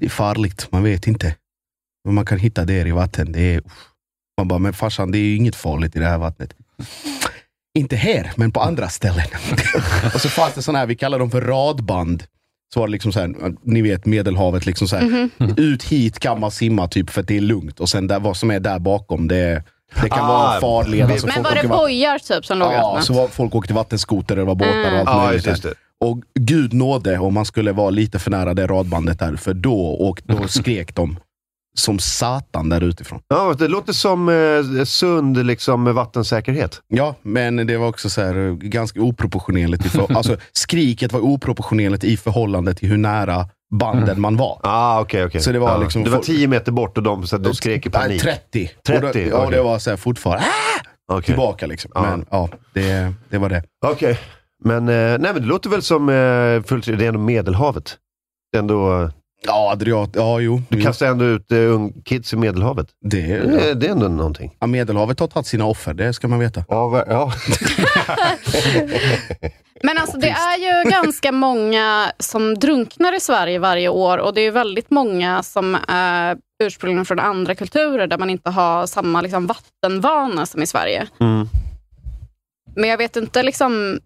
det är farligt. Man vet inte vad man kan hitta där i vatten. Det är, uff. man bara, men farsan, det är ju inget farligt i det här vattnet. Inte här, men på andra ställen. och så fanns det sådana här, vi kallar dem för radband. Så var det liksom så här, ni vet Medelhavet, liksom så här,
Mhm.
Mm.
ut hit kan man simma typ för att det är lugnt. Och sen där, vad som är där bakom, det, det kan
Ah,
vara en farled. alltså,
Men
folk
var det
åker vatten-
bojar typ som låg
Ja,
öppnat?
så var, folk åkte vattenskoter, det var båtar och allt
Mm. Ja,
möjligt.
just
där. och gud nåde om man skulle vara lite för nära det radbandet där, för då, åk,
Mm.
då skrek de som satan där utifrån.
Ja, det låter som eh, sund liksom, med vattensäkerhet.
Ja, men det var också så här, eh, ganska oproportionerligt. i För, alltså, skriket var oproportionerligt i förhållande till hur nära banden man var.
Ah, okay, okay.
Så det var
ja.
liksom
Det var
folk-
10 meter bort och de, så att de skrek i
Nej,
panik.
30.
30?
Och då, ja,
okej.
det var så här fortfarande "Ah!" tillbaka. Liksom. Men ja, det, det var det.
Okej. Men, eh, nej, men det låter väl som eh, fullt, det är ändå Medelhavet. Det är ändå...
Ja, Adriat, ja jo.
Du kastar ändå ut eh, ung kids i Medelhavet.
Det,
det, det är ändå någonting.
Ja, Medelhavet har tagit sina offer, det ska man veta.
Ja, ja.
Men alltså det är ju ganska många som drunknar i Sverige varje år och det är ju väldigt många som är ursprungligen från andra kulturer där man inte har samma liksom, vattenvana som i Sverige. Men jag vet inte, liksom,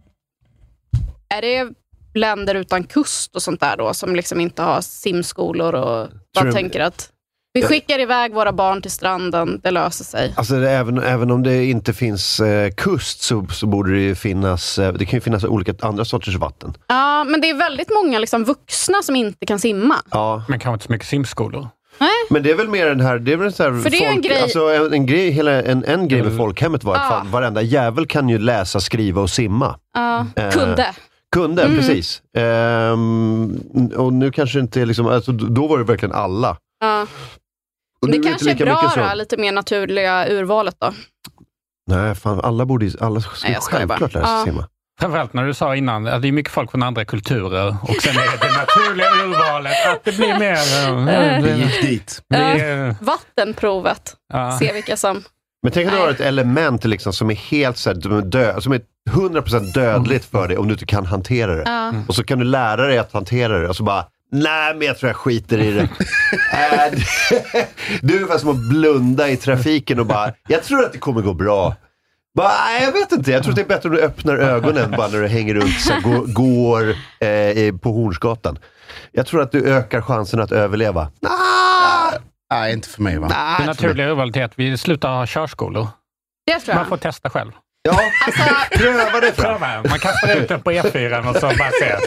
är det länder utan kust och sånt där då som liksom inte har simskolor och bara
Tror du-
tänker att vi
Jag-
skickar iväg våra barn till stranden, det löser sig.
Alltså, det, även, även om det inte finns eh, kust så, så borde det ju finnas... Eh, det kan ju finnas olika andra sorters vatten.
Ja, men det är väldigt många liksom, vuxna som inte kan simma.
Ja.
Men kanske inte så mycket simskolor.
Nej?
Men det är väl mer den här... Det är väl en sån här
För det är ju en grej-
Alltså, en, en grej, hela, en, en grej med
Mm.
folkhemmet var att fan, varenda jävel kan ju läsa, skriva och simma.
Ja,
Eh,
kunde.
Kunde,
Mm.
precis. Ehm, och nu kanske inte liksom, alltså, d- då var det verkligen alla.
Ja.
Och nu
Det
är det
kanske är
inte lika
bra
mycket så.
då, lite mer naturliga urvalet då.
Nej, fan, alla borde ju- alla
Nej,
skulle
jag skojar
självklart
bara.
lära sig
Ja.
simma.
Framförallt när du sa innan att det är mycket folk från andra kulturer och sen är det naturliga urvalet att det blir mer... eh,
Vi gick dit.
Det är-
Ja. Vattenprovet.
Ja.
Se vilka som...
Men tänk att du har ett element liksom, som är helt så här, som är dö- som är 100% dödligt för dig om du inte kan hantera det.
Ja. Mm.
Och så kan du lära dig att hantera det och så bara, nej men jag tror jag skiter i det. Äh, det- du är ungefär som att blunda i trafiken och bara, jag tror att det kommer gå bra. Bara, "Nej, jag vet inte, jag tror att det är bättre om du öppnar ögonen bara när du hänger runt, så här, går, går eh, i- på Hornsgatan. Jag tror att du ökar chansen att överleva. Ah!
Nej, inte för mig va?
Det naturliga urvalet är att vi slutar ha körskolor.
Det tror jag. Alltså-
Man får testa själv.
Ja, pröva det fram.
Pröva. Man kastar ut den på E4 och så bara ser.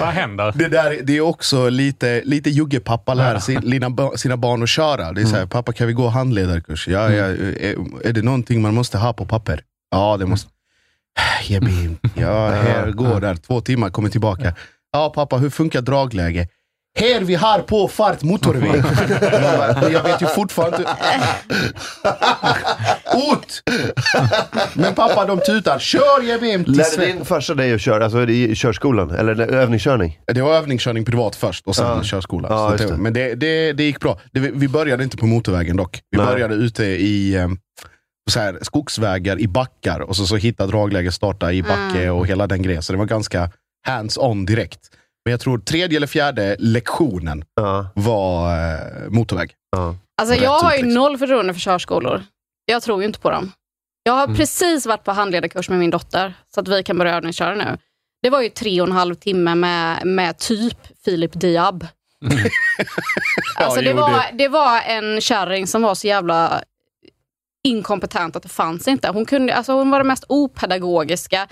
Vad händer?
Det, där, det är också lite, lite juggepappa lär sin, lina, ba- sina barn att köra. Det är så
Mm.
här, pappa kan vi gå handledarkurs? Ja, ja, eh, är, är det någonting man måste ha på papper? Ja, det måste... Ge mig in. Ja, här, går där. Två timmar, kommer tillbaka. Ja, pappa, hur funkar dragläge? Här vi har på fart motorväg. Jag bara, Jag vet ju fortfarande inte- Ut! Men pappa, de tutar. Kör ge mig in till
Lärde
Sverige.
din farsa dig att köra, alltså i körskolan? Eller när- övningskörning?
Det var övningskörning privat först och sen
Ja.
körskola.
Ja,
så
just
det,
det.
men det, det, det gick bra. Det, vi började inte på motorvägen dock. Vi
Nej.
började ute i eh, så här, skogsvägar i backar och så, så hitta dragläge, starta i backe
Mm.
och hela den grejen. Så det var ganska hands-on direkt. Men jag tror tredje eller fjärde lektionen var eh, motorväg.
Alltså,
Rätt
jag har
ut,
ju noll förtroende för körskolor. Jag tror ju inte på dem. Jag har
Mm.
precis varit på handledarkurs med min dotter, så att vi kan börja övningsköra nu. Det var ju tre och en halv timme med, med typ Filip Diab. Alltså, det,
jo,
var, det var en kärring som var så jävla inkompetent att det fanns inte. Hon, kunde, alltså hon var det mest opedagogiska.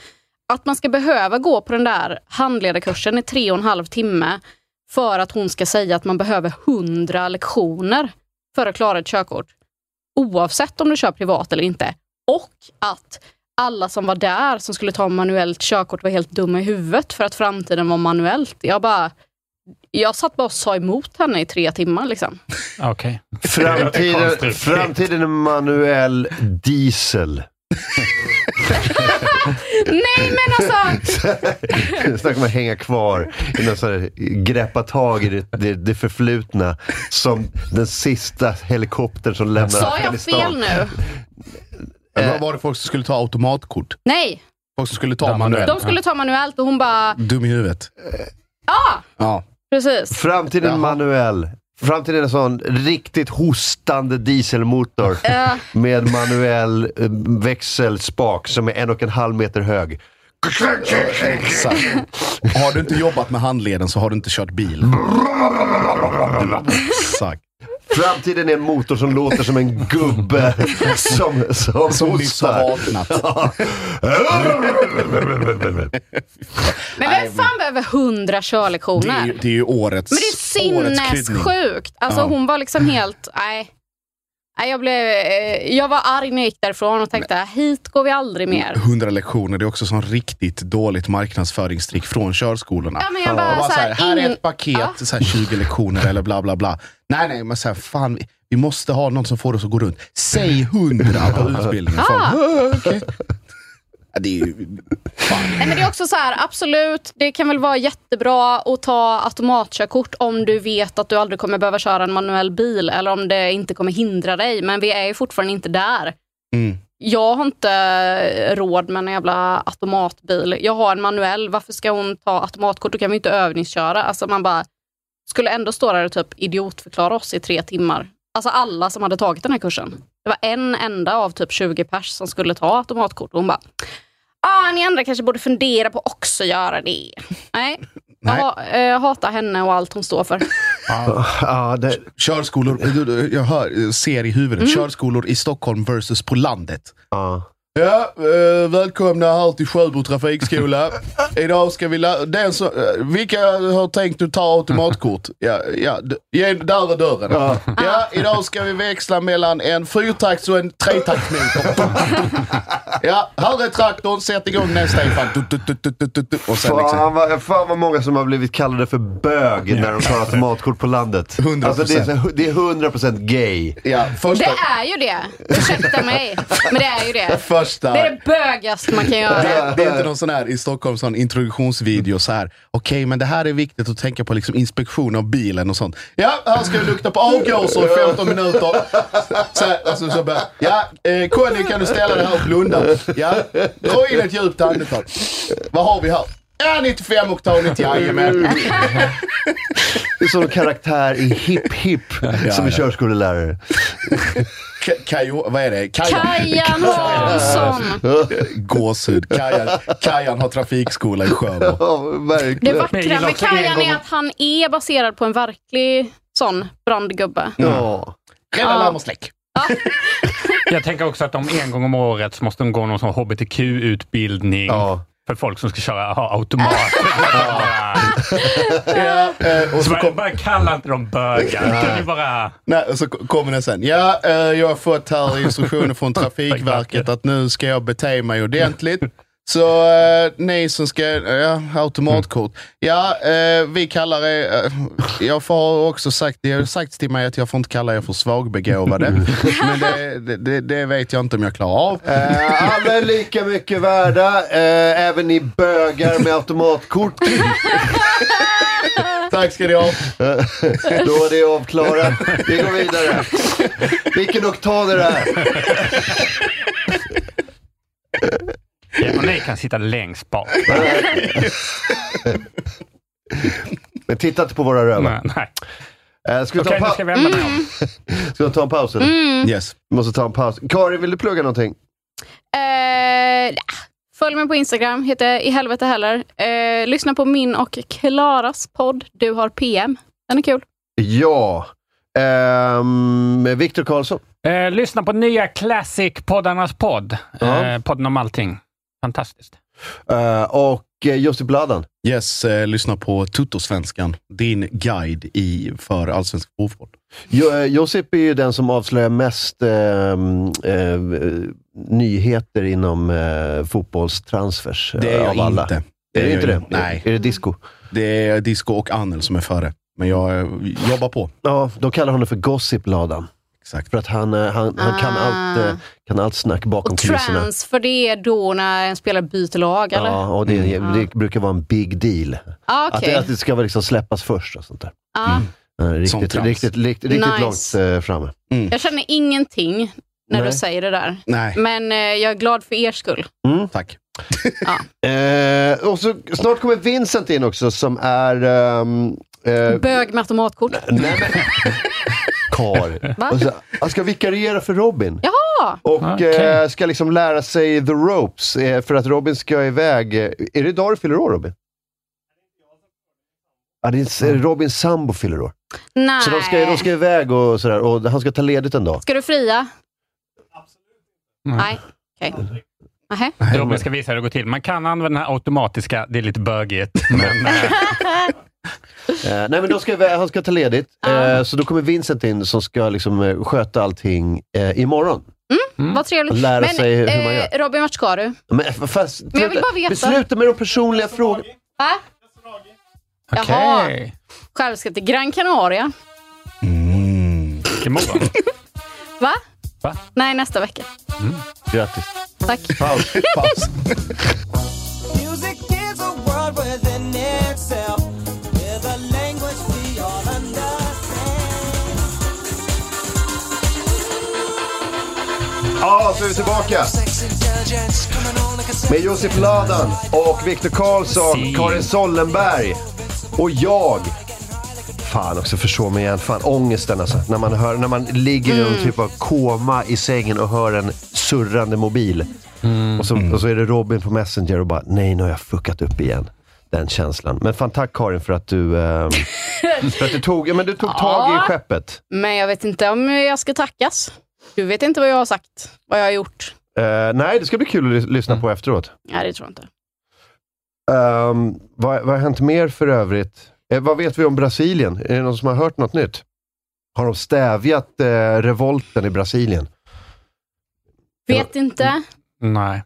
Att man ska behöva gå på den där handledarkursen i tre och en halv timme för att hon ska säga att man behöver hundra lektioner för att klara ett körkort. Oavsett om du kör privat eller inte. Och att alla som var där som skulle ta manuellt körkort var helt dumma i huvudet för att framtiden var manuellt. Jag bara... Jag satt bara och sa emot henne i tre timmar. Liksom.
Okej.
Framtiden, framtiden är manuell diesel.
Nej men alltså!
Snacka om att hänga kvar i någon sån här, greppa tag i det, det, det förflutna. Som den sista helikoptern som lämnar
Sa jag fel nu?
Men vad var det folk som skulle ta automatkort?
Nej,
Folk som skulle ta manuellt?
de skulle Eh, ta manuellt och hon bara,
Dum i huvudet.
ja
Ja.
precis.
Framtiden manuell. Framtiden är en sån riktigt hostande dieselmotor
Ja.
med manuell eh, växelspak som är en och en halv meter hög.
Exakt. Har du inte jobbat med handleden så har du inte kört bil. Exakt.
Framtiden är en motor som låter som en gubbe som, som,
Som nyss har
hostar.
vaknat.
Ja.
Men vem fan behöver hundra
Det är,
körlektioner?
ju- det är ju årets
Men det är
årets kryddning.
sinnessjukt. Alltså
Ja.
hon var liksom helt, nej. Nej, jag, blev, eh, jag var arg när jag gick därifrån och tänkte, hit går vi aldrig mer.
100 lektioner, det är också sån riktigt dåligt marknadsföringstrick från körskolorna.
Ja, men jag
Och
bara så
så
här,
här, här är
ingen-
ett paket, så här 20 lektioner eller bla bla bla. Nej, nej, men så här, fan, vi, vi måste ha någon som får oss att gå runt. Säg 100 på utbildningen. Folk, "Ah, okej." Ja, det är ju...
Nej, men det är också så här, absolut, det kan väl vara jättebra att ta automatkörkort om du vet att du aldrig kommer behöva köra en manuell bil eller om det inte kommer hindra dig. Men vi är ju fortfarande inte där.
Mm.
Jag har inte råd med en jävla automatbil. Jag har en manuell. Varför ska hon ta automatkort? Då kan vi inte övningsköra. Alltså man bara skulle ändå stå där och typ idiotförklara oss i tre timmar. Alltså alla som hade tagit den här kursen. Det var en enda av typ 20 pers som skulle ta automatkort och hon bara Ah, ni andra kanske borde fundera på att också göra det. Nej, jag
Nej.
ha, eh, hatar henne och allt hon står för.
Ja, det, Mm.
Körskolor, du- du- jag hör, ser i huvudet. Körskolor i Stockholm versus på landet. Ja, eh, välkomna här till Sjöbo trafikskola. Idag ska vi lä- den som, eh, Vilka har tänkt att ta automatkort? Ja, ja, d- ja, där är dörren. Ja. idag ska vi växla mellan en fyrtakts och en tretaktsmotor. ja, här är traktorn. Sätt igång den Stefan. Du, du, du, du, du, du. Och sen liksom,
Fan vad, fan vad många som har blivit kallade för bög när de tar automatkort på landet.
100%.
Alltså det, är, så- det är 100% gay.
ja,
Det
första,
är ju det. Ursäkta mig, men det är ju det.
första...
Det är det bögaste man kan göra.
Det, det är inte någon sån här i Stockholm sån introduktionsvideo så här. Okej, men det här är viktigt att tänka på liksom inspektion av bilen och sånt. Ja, här ska vi lukta på avgaser i 15 minuter. Så här, alltså, så bara, ja, eh, Conny kan du ställa dig här och blunda? Ja, dra in ett djupt andetag. Vad har vi här? Ja, 95 oktanigt, jajamän.
Det är som en karaktär i Hipp Hipp som är körskolelärare.
K- Kajo, vad är det?
Kajan Hansson.
Gåshud. Kajan, Kajan har trafikskola i Sjöbo.
Ja,
Det
verkligen.
vackra med Kajan är att han är baserad på en verklig sån brandgubbe.
Ja.
Rädda larm och släck.
Jag tänker också att de en gång om året så måste de gå någon sån hbtq-utbildning för folk som ska köra ha automat.
Ja, eh, och
så
så
bara,
kom-
bara kalla inte dem bögar. Kan ni bara...
Nej, och så k- kommer den sen. Ja, eh, jag har fått här instruktioner från Trafikverket att nu ska jag bete mig ordentligt. Så eh, ni som ska, ja, automatkort.
Mm.
Ja, eh, vi kallar er, eh, jag får har också sagt, det har sagts till mig att jag får inte kalla er för svagbegåvade. Men det, det- det, det vet jag inte om jag klarar av.
Eh, alla är lika mycket värda, eh, även ni bögar med automatkort.
Tack ska ni ha.
Då är det avklarat. Vi går vidare. Vilken oktan är det här?
Ja, och ni kan sitta längst bak.
Men titta inte på våra
Nej,
rövar.
nej.
Eh, ska, vi ta
Okej,
en
nu
pa- Mm.
ska vi vända på dem.
ska vi ta en paus? eller?
Mm. Yes.
Vi måste ta en paus. Karin, vill du plugga någonting?
Eh, nja. följ mig på Instagram, heter i helvete heller. Eh, lyssna på min och Klaras podd, Du har PM. Den är kul.
Ja. Ehm, Viktor Karlsson.
Eh, lyssna på nya Classic-poddarnas podd. Eh, podden om allting. Fantastiskt.
Eh, och eh, Jussi Bladan.
Yes, eh, lyssna på Tuttosvenskan, din guide i, för allsvensk fotboll.
Jo, eh, Josip är ju den som avslöjar mest ehm, eh, nyheter inom eh, fotbollstransfers. eh,
Det är jag
av alla.
inte.
Är det inte
jag
det?
Nej.
Är det disco?
Det är disco och Annel som är före. Men jag eh, jobbar på.
Ja, de kallar honom för Gossip-ladan. Exakt, för att han, eh, han, han kan,
Ah.
allt, eh, kan allt snack bakom kulisserna.
Trans, för det är då när en spelare byter lag, eller?
Ja, och det,
Mm.
det brukar vara en big deal.
Ah,
att,
okej.
det- att det ska väl liksom släppas först och sånt där.
Ja.
Eh, Riktigt,
trams.
riktigt, riktigt, riktigt
Nice.
långt eh, framme.
Mm.
Jag känner ingenting när
Nej.
du säger det där.
Nej.
Men eh, jag är glad för er skull.
Tack. eh, och så, snart kommer Vincent in också som är... ehm, eh,
Bög med automatkort.
nej, men... Karl.
Va?
Och så- Han ska vikariera för Robin.
Jaha!
Och eh, ska liksom lära sig the ropes eh, för att Robin ska iväg. Eh, Är det idag du fyller år Robin? Ja, det är s- Robins sambo fyller år.
Nej.
Så de ska, de ska iväg och sådär och han ska ta ledigt en dag.
Ska du fria? Nej. Okej. Nähä.
Robin ska visa hur det går till. Man kan använda den här automatiska, det är lite bögigt. Men, eh,
Eh, nej, men de ska, iväg- han ska ta ledigt. Eh, så då kommer Vincent in som ska liksom, eh, sköta allting eh, imorgon.
Vad trevligt.
Mm.
eh,
Lära sig hur man gör.
Robin, vart ska du?
Men, f- fast,
Men jag vill bara veta.
Besluta med de personliga frågorna.
Va? Jaha. Själv ska till Gran Canaria.
Imorgon?
Va?
Va?
Nej, nästa vecka.
Mm.
Grattis.
Tack.
Paus. Paus.
Music is a world within itself, with a language we all understand.
Ja, så är vi tillbaka. Med Josef Ladan och Viktor Karlsson, Karin Sollenberg och jag. Fan också, förså mig igen. Fan, ångesten alltså. När man, hör, när man ligger i någon typ av koma i sängen och hör en surrande mobil. Och, så, och så är det Robin på Messenger och bara, nej nu har jag fuckat upp igen. Den känslan. Men fan tack Karin för att du, ehm, för att du tog, ja, men du tog tag
Ja.
i skeppet.
Men jag vet inte om jag ska tackas. Du vet inte vad jag har sagt, vad jag har gjort.
Eh, nej, det ska bli kul att lys- lyssna på efteråt.
Nej, det tror jag inte.
Ehm, vad, vad har hänt mer för övrigt? Eh, vad vet vi om Brasilien? Är det någon som har hört något nytt? Har de stävjat eh, revolten i Brasilien?
Vet inte.
Nej.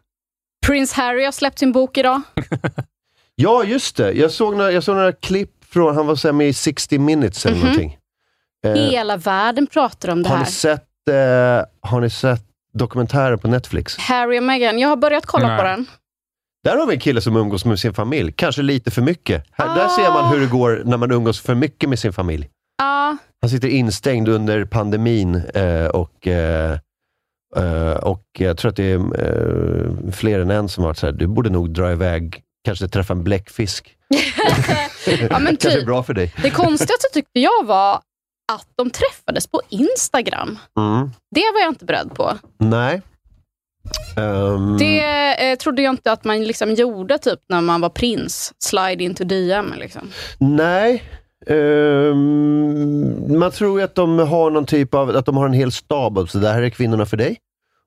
Prince Harry har släppt sin bok idag.
Ja, just det. Jag såg några, jag såg några klipp från, han var så här med i 60 minutes eller
Mhm.
någonting. Eh,
Hela världen pratar om det
har, ni
här.
sett, eh, har ni sett dokumentären på Netflix?
Harry och Meghan. Jag har börjat kolla
Nej.
på den.
Där har vi en kille som umgås med sin familj. Kanske lite för mycket. Här, där ser man hur det går när man umgås för mycket med sin familj.
Ja,
Han sitter instängd under pandemin eh, och, eh, eh, och jag tror att det är eh, fler än en som har varit så här, du borde nog dra iväg, kanske träffa en bläckfisk.
ja men
kanske är
typ.
bra för dig.
Det konstigaste tyckte jag var att de träffades på Instagram.
Mm.
Det var jag inte beredd på.
Nej. Ehm,
Det eh, trodde jag inte att man liksom gjorde typ när man var prins. Slide into DM. Liksom.
Nej. Ehm, man tror ju att de har någon typ av, att de har en hel stab. av, Så det här är kvinnorna för dig.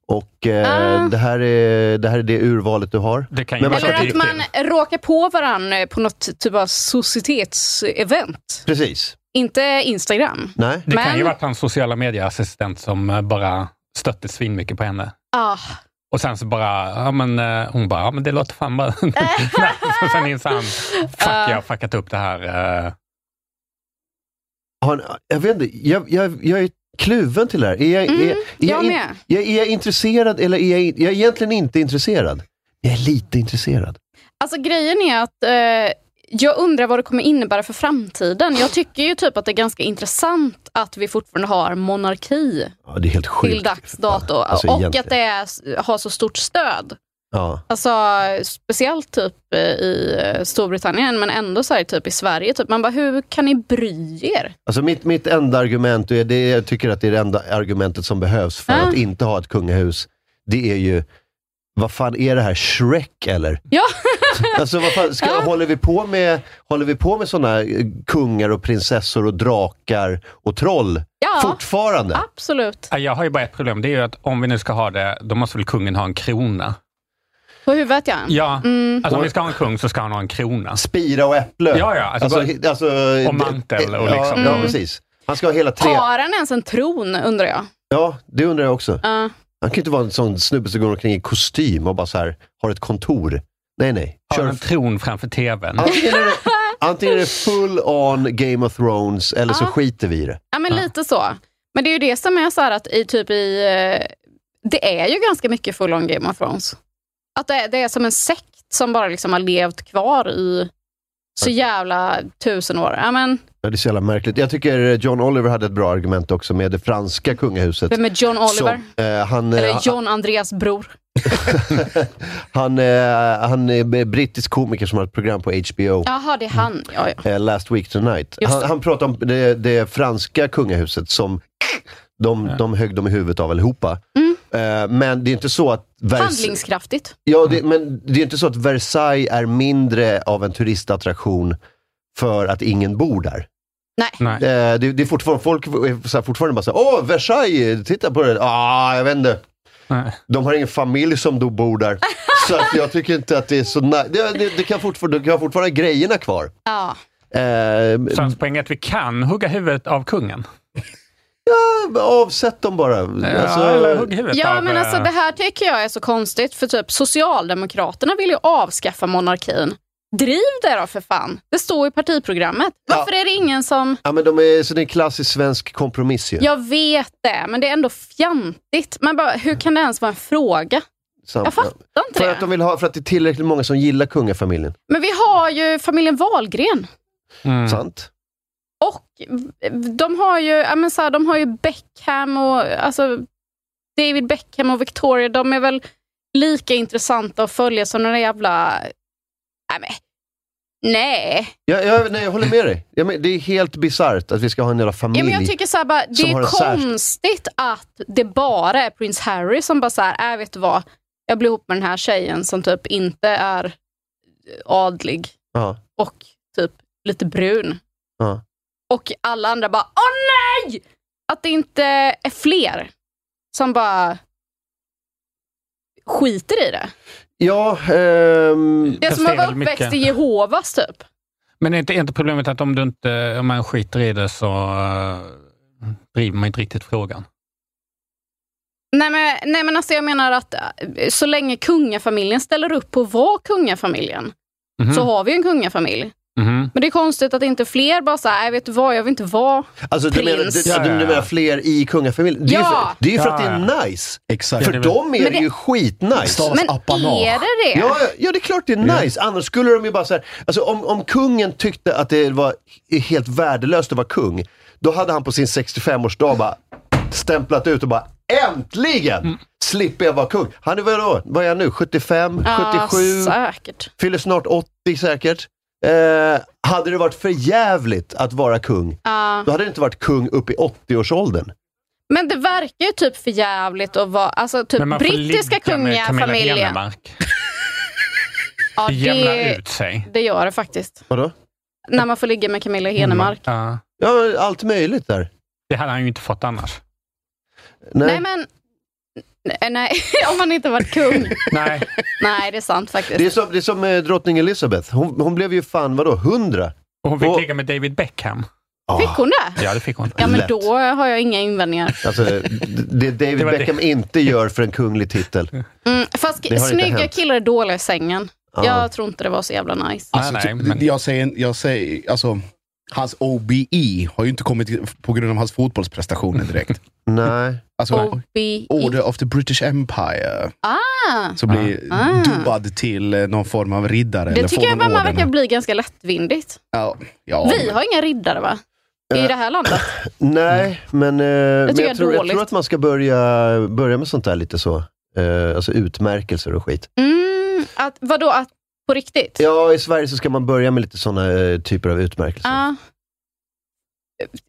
Och eh, det, här är, det här är det urvalet du har.
Det kan
Men man ska
Ah. Eller att
inte-
man råkar på varandra på något typ av societetsevent.
Precis.
Inte Instagram.
Nej.
Det kan
Men-
ju varit hans sociala medieassistent som eh, bara stötte svinmycket på henne.
Ah.
Och sen så bara, ja men eh, hon bara, ja men det låter fan bra. Och sen inser han, fuck
Eh,
jag har fuckat upp det här. eh.
Har, ni- jag vet inte, jag, jag, jag är kluven till det här. Är jag,
Mm,
är, är
jag
jag, in-
med.
jag, är jag intresserad eller är jag, in- jag är egentligen inte intresserad? Jag är lite intresserad.
Alltså grejen är att eh, jag undrar vad det kommer innebära för framtiden. Jag tycker ju typ att det är ganska intressant att vi fortfarande har monarki
Ja, det är helt
till
sjukt.
dags dato
Alltså,
och
egentligen.
att det är, har så stort stöd.
Ja.
Alltså speciellt typ eh, i eh, Storbritannien men ändå så här typ i Sverige. Typ. Man bara, hur kan ni bry er?
Alltså mitt, mitt enda argument, och det, jag tycker att det är det enda argumentet som behövs för
Ja.
att inte ha ett kungahus, det är ju, vad fan är det här, Shrek eller?
Ja,
Alltså vad fan, ska, håller, vi på med, håller vi på med sådana kungar och prinsessor och drakar och troll
Ja.
fortfarande?
absolut.
Jag har ju bara ett problem, det är ju att om vi nu ska ha det, då måste väl kungen ha en krona.
På huvudet ja.
Ja,
Mm.
alltså om vi ska ha en kung så ska han ha en krona.
Spira och äpple.
Ja, ja. Alltså,
Alltså,
bara, och mantel och liksom.
Mm.
Ja, ja precis. Han ska ha hela tre.
Har han ens en tron undrar jag?
Ja, det undrar jag också.
Ja.
Han kan ju inte vara en sån snubbe som går omkring i kostym och bara så här, har ett kontor. Nej, nej.
Har en tron framför tvn.
Antingen är det, antingen är det full on Game of Thrones eller så skiter vi i det.
Ja, men lite så. Men det är ju det som är så här att i typ i... eh, Det är ju ganska mycket full on Game of Thrones. Att det, är- det är som en sekt som bara liksom har levt kvar i så jävla tusen år. Ja, men,
Ja, det är så jävla märkligt. Jag tycker John Oliver hade ett bra argument också med det franska kungahuset.
vem är John Oliver?
Som, eh, han, eh,
Eller John Andreas bror.
han, eh, han är brittisk komiker som har ett program på HBO.
Jaha, det är han. Ja, ja.
eh, Last Week Tonight.
Just
Han,
det.
han pratar om det, det franska kungahuset som de, de högg dem i huvudet av allihopa.
Mm.
Eh, men det är inte så att... Vers-
Handlingskraftigt.
Ja, det, men det är inte så att Versailles är mindre av en turistattraktion för att ingen bor där.
Nej.
Eh, Det, det är fortfarande, folk är så här, fortfarande bara såhär, åh Versailles, titta på det. Ah, jag vet inte. De har ingen familj som då bor där. så att jag tycker inte att det är så nice. Det, det, det kan fortfarande, du kan fortfarande ha grejerna kvar.
Ja.
Eh,
Så hans poäng är att vi kan hugga huvudet av kungen.
ja, avsätt dem bara. Alltså,
Ja, eller hugg huvudet
Ja,
av,
men
eh,
alltså det här tycker jag är så konstigt, för typ Socialdemokraterna vill ju avskaffa monarkin. Driv det då för fan! Det står i partiprogrammet. Varför är det ingen som...
Ja, men de är, så det är en klassisk svensk kompromiss ju.
Jag vet det, men det är ändå fjantigt. Man bara, hur kan det ens vara en fråga?
Sam-
jag fattar inte
för
det.
att de vill ha, För att det är tillräckligt många som gillar kungafamiljen.
Men vi har ju familjen Wahlgren.
Sant?
De har ju, ja, men så här, de har ju Beckham och alltså, David Beckham och Victoria. De är väl lika intressanta att följa som några jävla... Nej, men, nej.
Jag, jag, nej, jag håller med dig. Jag men, det är helt bisarrt att vi ska ha en jävla familj.
Ja, men jag tycker så här bara, det
som har
är
en särskild-
konstigt att det bara är prins Harry som bara så här, äh, vet du vad, jag blir ihop med den här tjejen som typ inte är adlig
Ja,
och typ lite brun.
ja.
Och alla andra bara, åh nej! Att det inte är fler som bara skiter i det.
ja ehm,
Det är som att vara uppväxt i Jehovas typ.
Men är inte, är inte problemet att om, du inte, om man skiter i det så eh, driver man inte riktigt frågan?
Nej men, nej men alltså jag menar att eh, så länge kungafamiljen ställer upp på att vara kungafamiljen
Mhm.
så har vi en kungafamilj. Men det är konstigt att inte fler bara såhär, "Nej, vet du vad, jag vill inte vara
Alltså, du,
prins.
menar, du, ja, du, du menar fler i kungafamiljen? Det är ju
Ja.
för, det är ju för att det
Ja,
är nice.
Exakt.
För
Men det är väl-
dem är
Men
det ju
det-
skitnice.
Men är det det?
Ja, ja, ja, det är klart det är nice. Annars skulle de ju bara säga, alltså om, om kungen tyckte att det var helt värdelöst att vara kung, då hade han på sin 65-årsdag bara stämplat ut och bara äntligen slipper jag vara kung. Han är väl då, vad är han nu, 75,
Ja,
77?
säkert.
Fyller snart 80 säkert. Eh, hade det varit för jävligt att vara kung,
Ja. Typ
då hade det inte varit kung upp i 80-årsåldern.
Men det verkar ju typ för jävligt att vara, alltså
Men
typ
man får
brittiska
ligga med Camilla
kungafamiljen.
Henemark.
Ja,
Det jämnar
det,
ut sig.
det gör det faktiskt.
Vadå?
När man får ligga med Camilla
Mm.
Henemark.
Ja.
ja, allt möjligt där.
Det hade han ju inte fått annars.
Nej, men... Nej, nej, om man inte varit kung.
Nej.
nej, det är sant faktiskt.
Det är som, det är som eh, drottning Elizabeth. Hon, hon blev ju fan, vadå, 100?
Och hon fick ligga med David Beckham.
Fick hon det?
Ja, det fick hon.
Ja, men då har jag inga invändningar.
Alltså, d- det David
Det var det.
Beckham inte gör för en kunglig titel.
Mm, fast
Det har inte
snygga
hänt.
killar är dåliga i sängen.
Ja.
Jag tror inte det var så jävla nice.
Alltså, typ, jag, säger, jag säger, alltså, hans OBE har ju inte kommit på grund av hans fotbollsprestationer direkt.
Nej.
Alltså,
B- E.
Oh,
Order of the British Empire.
ah,
Så blir
Ah.
dubbad till eh, någon form av riddare.
det
eller
tycker
får
jag
någon
bara man
orden.
verkar bli ganska lättvindigt.
Ja, ja.
Vi har inga riddare va?
Eh.
I det här landet.
Nej,
Mm.
men, eh, men
tycker jag
jag,
är
tror, jag
dåligt.
tror att man ska börja, börja med sånt där lite så. Eh, alltså utmärkelser och skit.
Mm, att, vadå, att på riktigt?
Ja, i Sverige så ska man börja med lite såna eh, typer av utmärkelser.
Ja.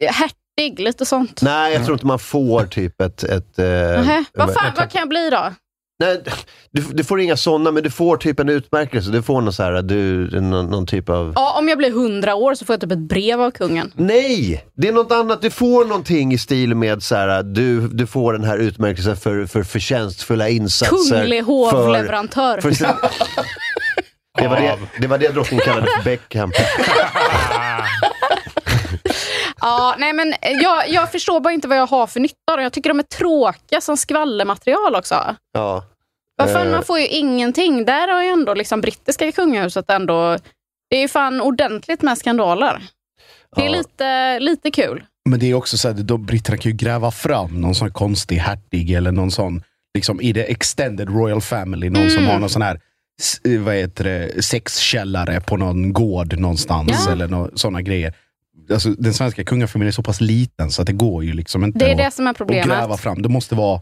Ah. Hertig, lite sånt.
Nej,
Mm.
jag tror inte man får typ ett... ett eh,
Nähä. Vad fan, vad kan jag bli då?
Nej, du, du får inga sådana, men du får typ en utmärkelse. Du får någon, så här, du, någon, någon typ av...
Ja, om jag blir hundra år så får jag typ ett brev av kungen.
Nej! Det är något annat. Du får någonting i stil med så här, du, du får den här utmärkelsen för, för förtjänstfulla insatser.
Kunglig
För,
hovleverantör.
för sin, det, var det, det var det drottningen kallade för Beckham.
Ja, nej, men eh, jag, jag förstår bara inte vad jag har för nytta av dem. Jag tycker de är tråkiga som skvallermaterial också.
Ja.
Vad fan,
Eh,
man får ju ingenting. Där har ju ändå liksom brittiska kungahuset ändå... Det är ju fan ordentligt med skandaler. Det är lite, lite kul.
Men det är också så att då britterna kan ju gräva fram någon sån här konstig hertig eller någon sån, liksom i the extended royal family, någon som
Mm.
har någon sån här s- eh, vad heter det, sexkällare på någon gård någonstans
Ja.
eller no, sådana grejer. Alltså, den svenska kungafamiljen är så pass liten så att det går ju liksom inte
Det är
att,
det som är
att gräva
problemet.
fram. Det måste vara,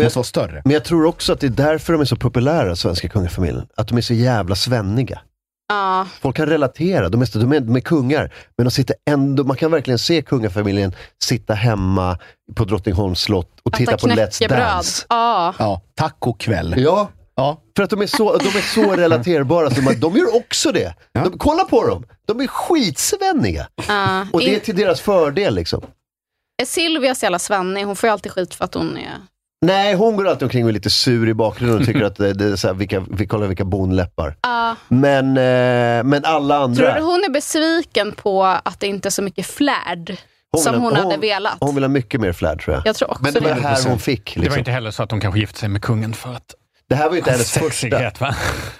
måste vara större.
Men jag tror också att det är därför de är så populära, svenska kungafamiljen. Att de är så jävla svenniga.
Ja.
Folk kan relatera, de är, så- de är, de är kungar. Men de sitter ändå, man kan verkligen se kungafamiljen sitta hemma på Drottningholms slott och titta på Let's Dance.
Ja.
Ja, tacokväll.
Ja.
ja.
För att de är så, de är så relaterbara. Så man, de gör också det. De, kolla på dem! De är skitsvenniga.
Ja.
Och det är
In-
till deras fördel liksom.
Silvia är så jävla svennig. Hon får ju alltid skit för att hon är...
Nej, hon går alltid omkring och är lite sur i bakgrunden och tycker att det, det är så här, vilka, vi kollar vilka bonläppar.
Ja.
Men, eh, men alla andra...
Tror du hon är besviken på att det inte är så mycket flärd
Hon
som
vill ha-
hon hade velat?
Hon vill ha mycket mer flärd tror jag.
Jag tror också
Men det var
det.
det här hon fick. Liksom.
Det var inte heller så att hon kanske gifte sig med kungen för att...
Det här var ju inte hennes
Sexighet,
första,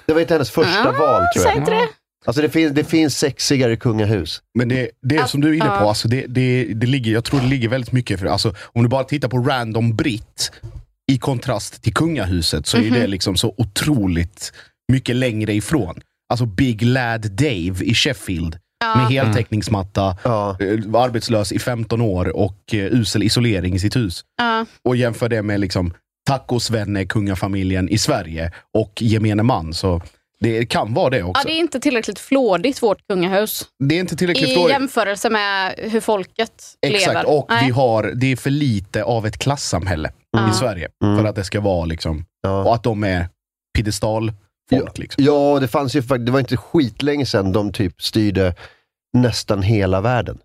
det var inte hennes första
Ah,
val tror
säg
jag.
inte det.
Alltså det finns, det finns sexigare kungahus.
Men det, det är som du är inne på,
ja.
alltså det, det, det ligger, jag tror det ligger väldigt mycket för alltså, Om du bara tittar på random britt i kontrast till kungahuset så
Mhm.
är det liksom så otroligt mycket längre ifrån. Alltså Big Lad Dave i Sheffield
Ja. Mm.
med heltäckningsmatta, eh, var arbetslös i 15 år och eh, usel isolering i sitt hus.
Ja.
Och jämför det med liksom tacosvenne kungafamiljen i Sverige och gemene man. Så det kan vara det
Ja,
också.
det är inte tillräckligt flådigt, vårt kungahus.
Det är inte tillräckligt
I
flådigt.
jämförelse med hur folket
Exakt,
lever.
och
Nej.
vi har, det är för lite av ett klassamhälle
Mm.
i Sverige. För att det ska vara liksom, och att de är piedestal. Folk, ja,
liksom.
ja, det fanns ju fakt- det var inte skitlänge sedan de typ styrde nästan hela världen.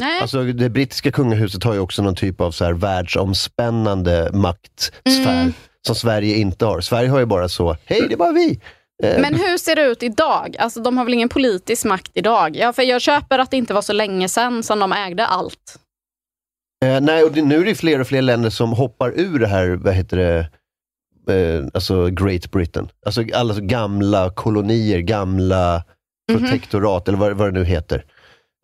Nej.
Alltså det brittiska kungahuset har ju också någon typ av så här världsomspännande maktsfär
Mm.
som Sverige inte har. Sverige har ju bara så, hej det är bara vi. Eh,
Men hur ser det ut idag? Alltså, de har väl ingen politisk makt idag? Ja, för jag köper att det inte var så länge sedan som de ägde allt.
Eh, nej, och det, nu är det fler och fler länder som hoppar ur det här, vad heter det, eh, alltså Great Britain. Alltså alla så gamla kolonier, gamla protektorat eller vad, vad det nu heter.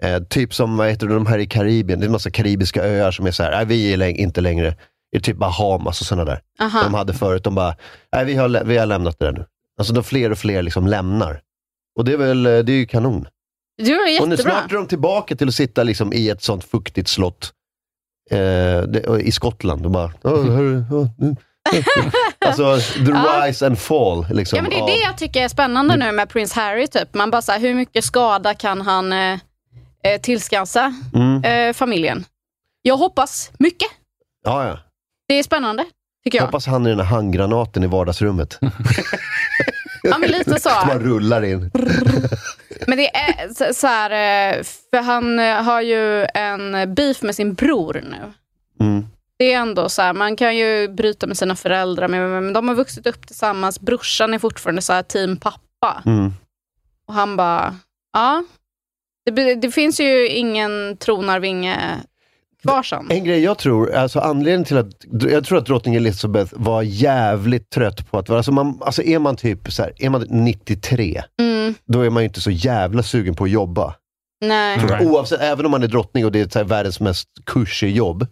Eh, typ som, vad heter det, de här i Karibien, det är en massa karibiska öar som är så här, nej vi är läng- inte längre, det är typ Bahamas och sådana där.
Aha.
De hade förut, de bara, nej vi har, lä- vi har lämnat det där nu. Alltså de fler och fler liksom lämnar. Och det är väl, eh, det är ju kanon.
Det var
Och nu
jättebra.
snart är de tillbaka till att sitta liksom i ett sånt fuktigt slott eh, det, och i Skottland. Och bara, "Åh, hörru, åh, nu." alltså, the
Mm. Ja.
rise and fall. Liksom,
Ja, men det är
av-
det jag tycker är spännande nu med prins Harry. Typ. Man bara så här, hur mycket skada kan han eh, eh, tillskansa
Mm.
eh, familjen? Jag hoppas mycket.
Ja, ja.
Det är spännande, tycker jag.
Hoppas han är den här handgranaten i vardagsrummet.
Ja, men lite så.
Som bara rullar in.
Men det är så, så här, eh, för han eh, har ju en beef med sin bror nu.
Mm.
Det är ändå så här, man kan ju bryta med sina föräldrar, men, men de har vuxit upp tillsammans. Brorsan är fortfarande så här team pappa.
Mm.
Och han bara, ja. Det, be- det finns ju ingen tronarvinge kvar sen.
En grej jag tror, alltså anledningen till att, jag tror att drottning Elizabeth var jävligt trött på att vara, alltså, man, alltså är man typ så här, är man 93,
Mm,
då är man ju inte så jävla sugen på att jobba.
nej.
Tror jag. Oavsett, även om man är drottning och det är så här världens mest kursig jobb,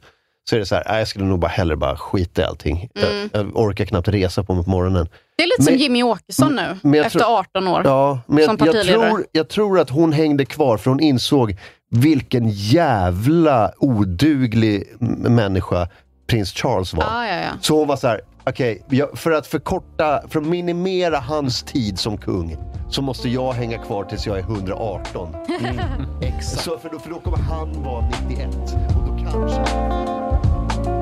så är det så här, "Nej, jag skulle nog bara hellre bara skita i allting.
Mm.
Jag, jag orkar knappt resa på mig på morgonen.
Det är lite som
Men-
Jimmy Åkesson nu,
men jag
efter
tror-
18 år
Ja, men
som
jag, jag,
partiledare.
tror, jag tror att hon hängde kvar, för hon insåg vilken jävla oduglig m- människa prins Charles var.
Ja, Ah, ja, ja.
Så hon var så här, okej, jag- för att förkorta, för att minimera hans tid som kung, så måste jag hänga kvar tills jag är 118. Exakt. Så, för, då, för då kommer han vara 91 och då kanske...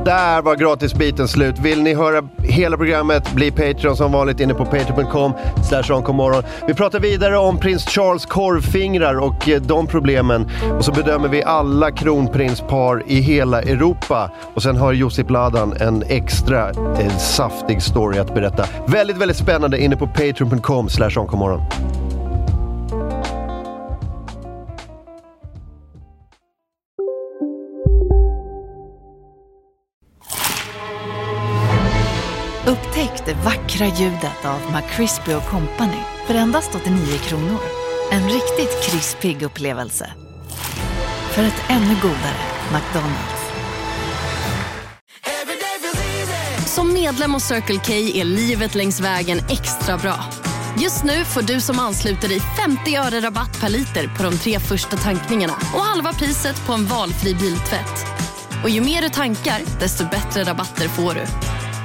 Där var gratisbiten slut. Vill ni höra hela programmet, bli Patreon som vanligt inne på patreon.com slash onkomorgon. Vi pratar vidare om prins Charles korvfingrar och eh, de problemen. Och så bedömer vi alla kronprinspar i hela Europa. Och sen har Josip Ladan en extra eh, saftig story att berätta. Väldigt, väldigt spännande inne på patreon.com slash onkomorgon.
Upptäck det vackra ljudet av McCrispy Company för endast 89 kronor. En riktigt krispig upplevelse. för ett ännu godare McDonalds.
Som medlem hos Circle K är livet längs vägen extra bra. Just nu får du som ansluter dig 50 öre rabatt per liter på de tre första tankningarna och halva priset på en valfri biltvätt. Och ju mer du tankar, desto bättre rabatter får du.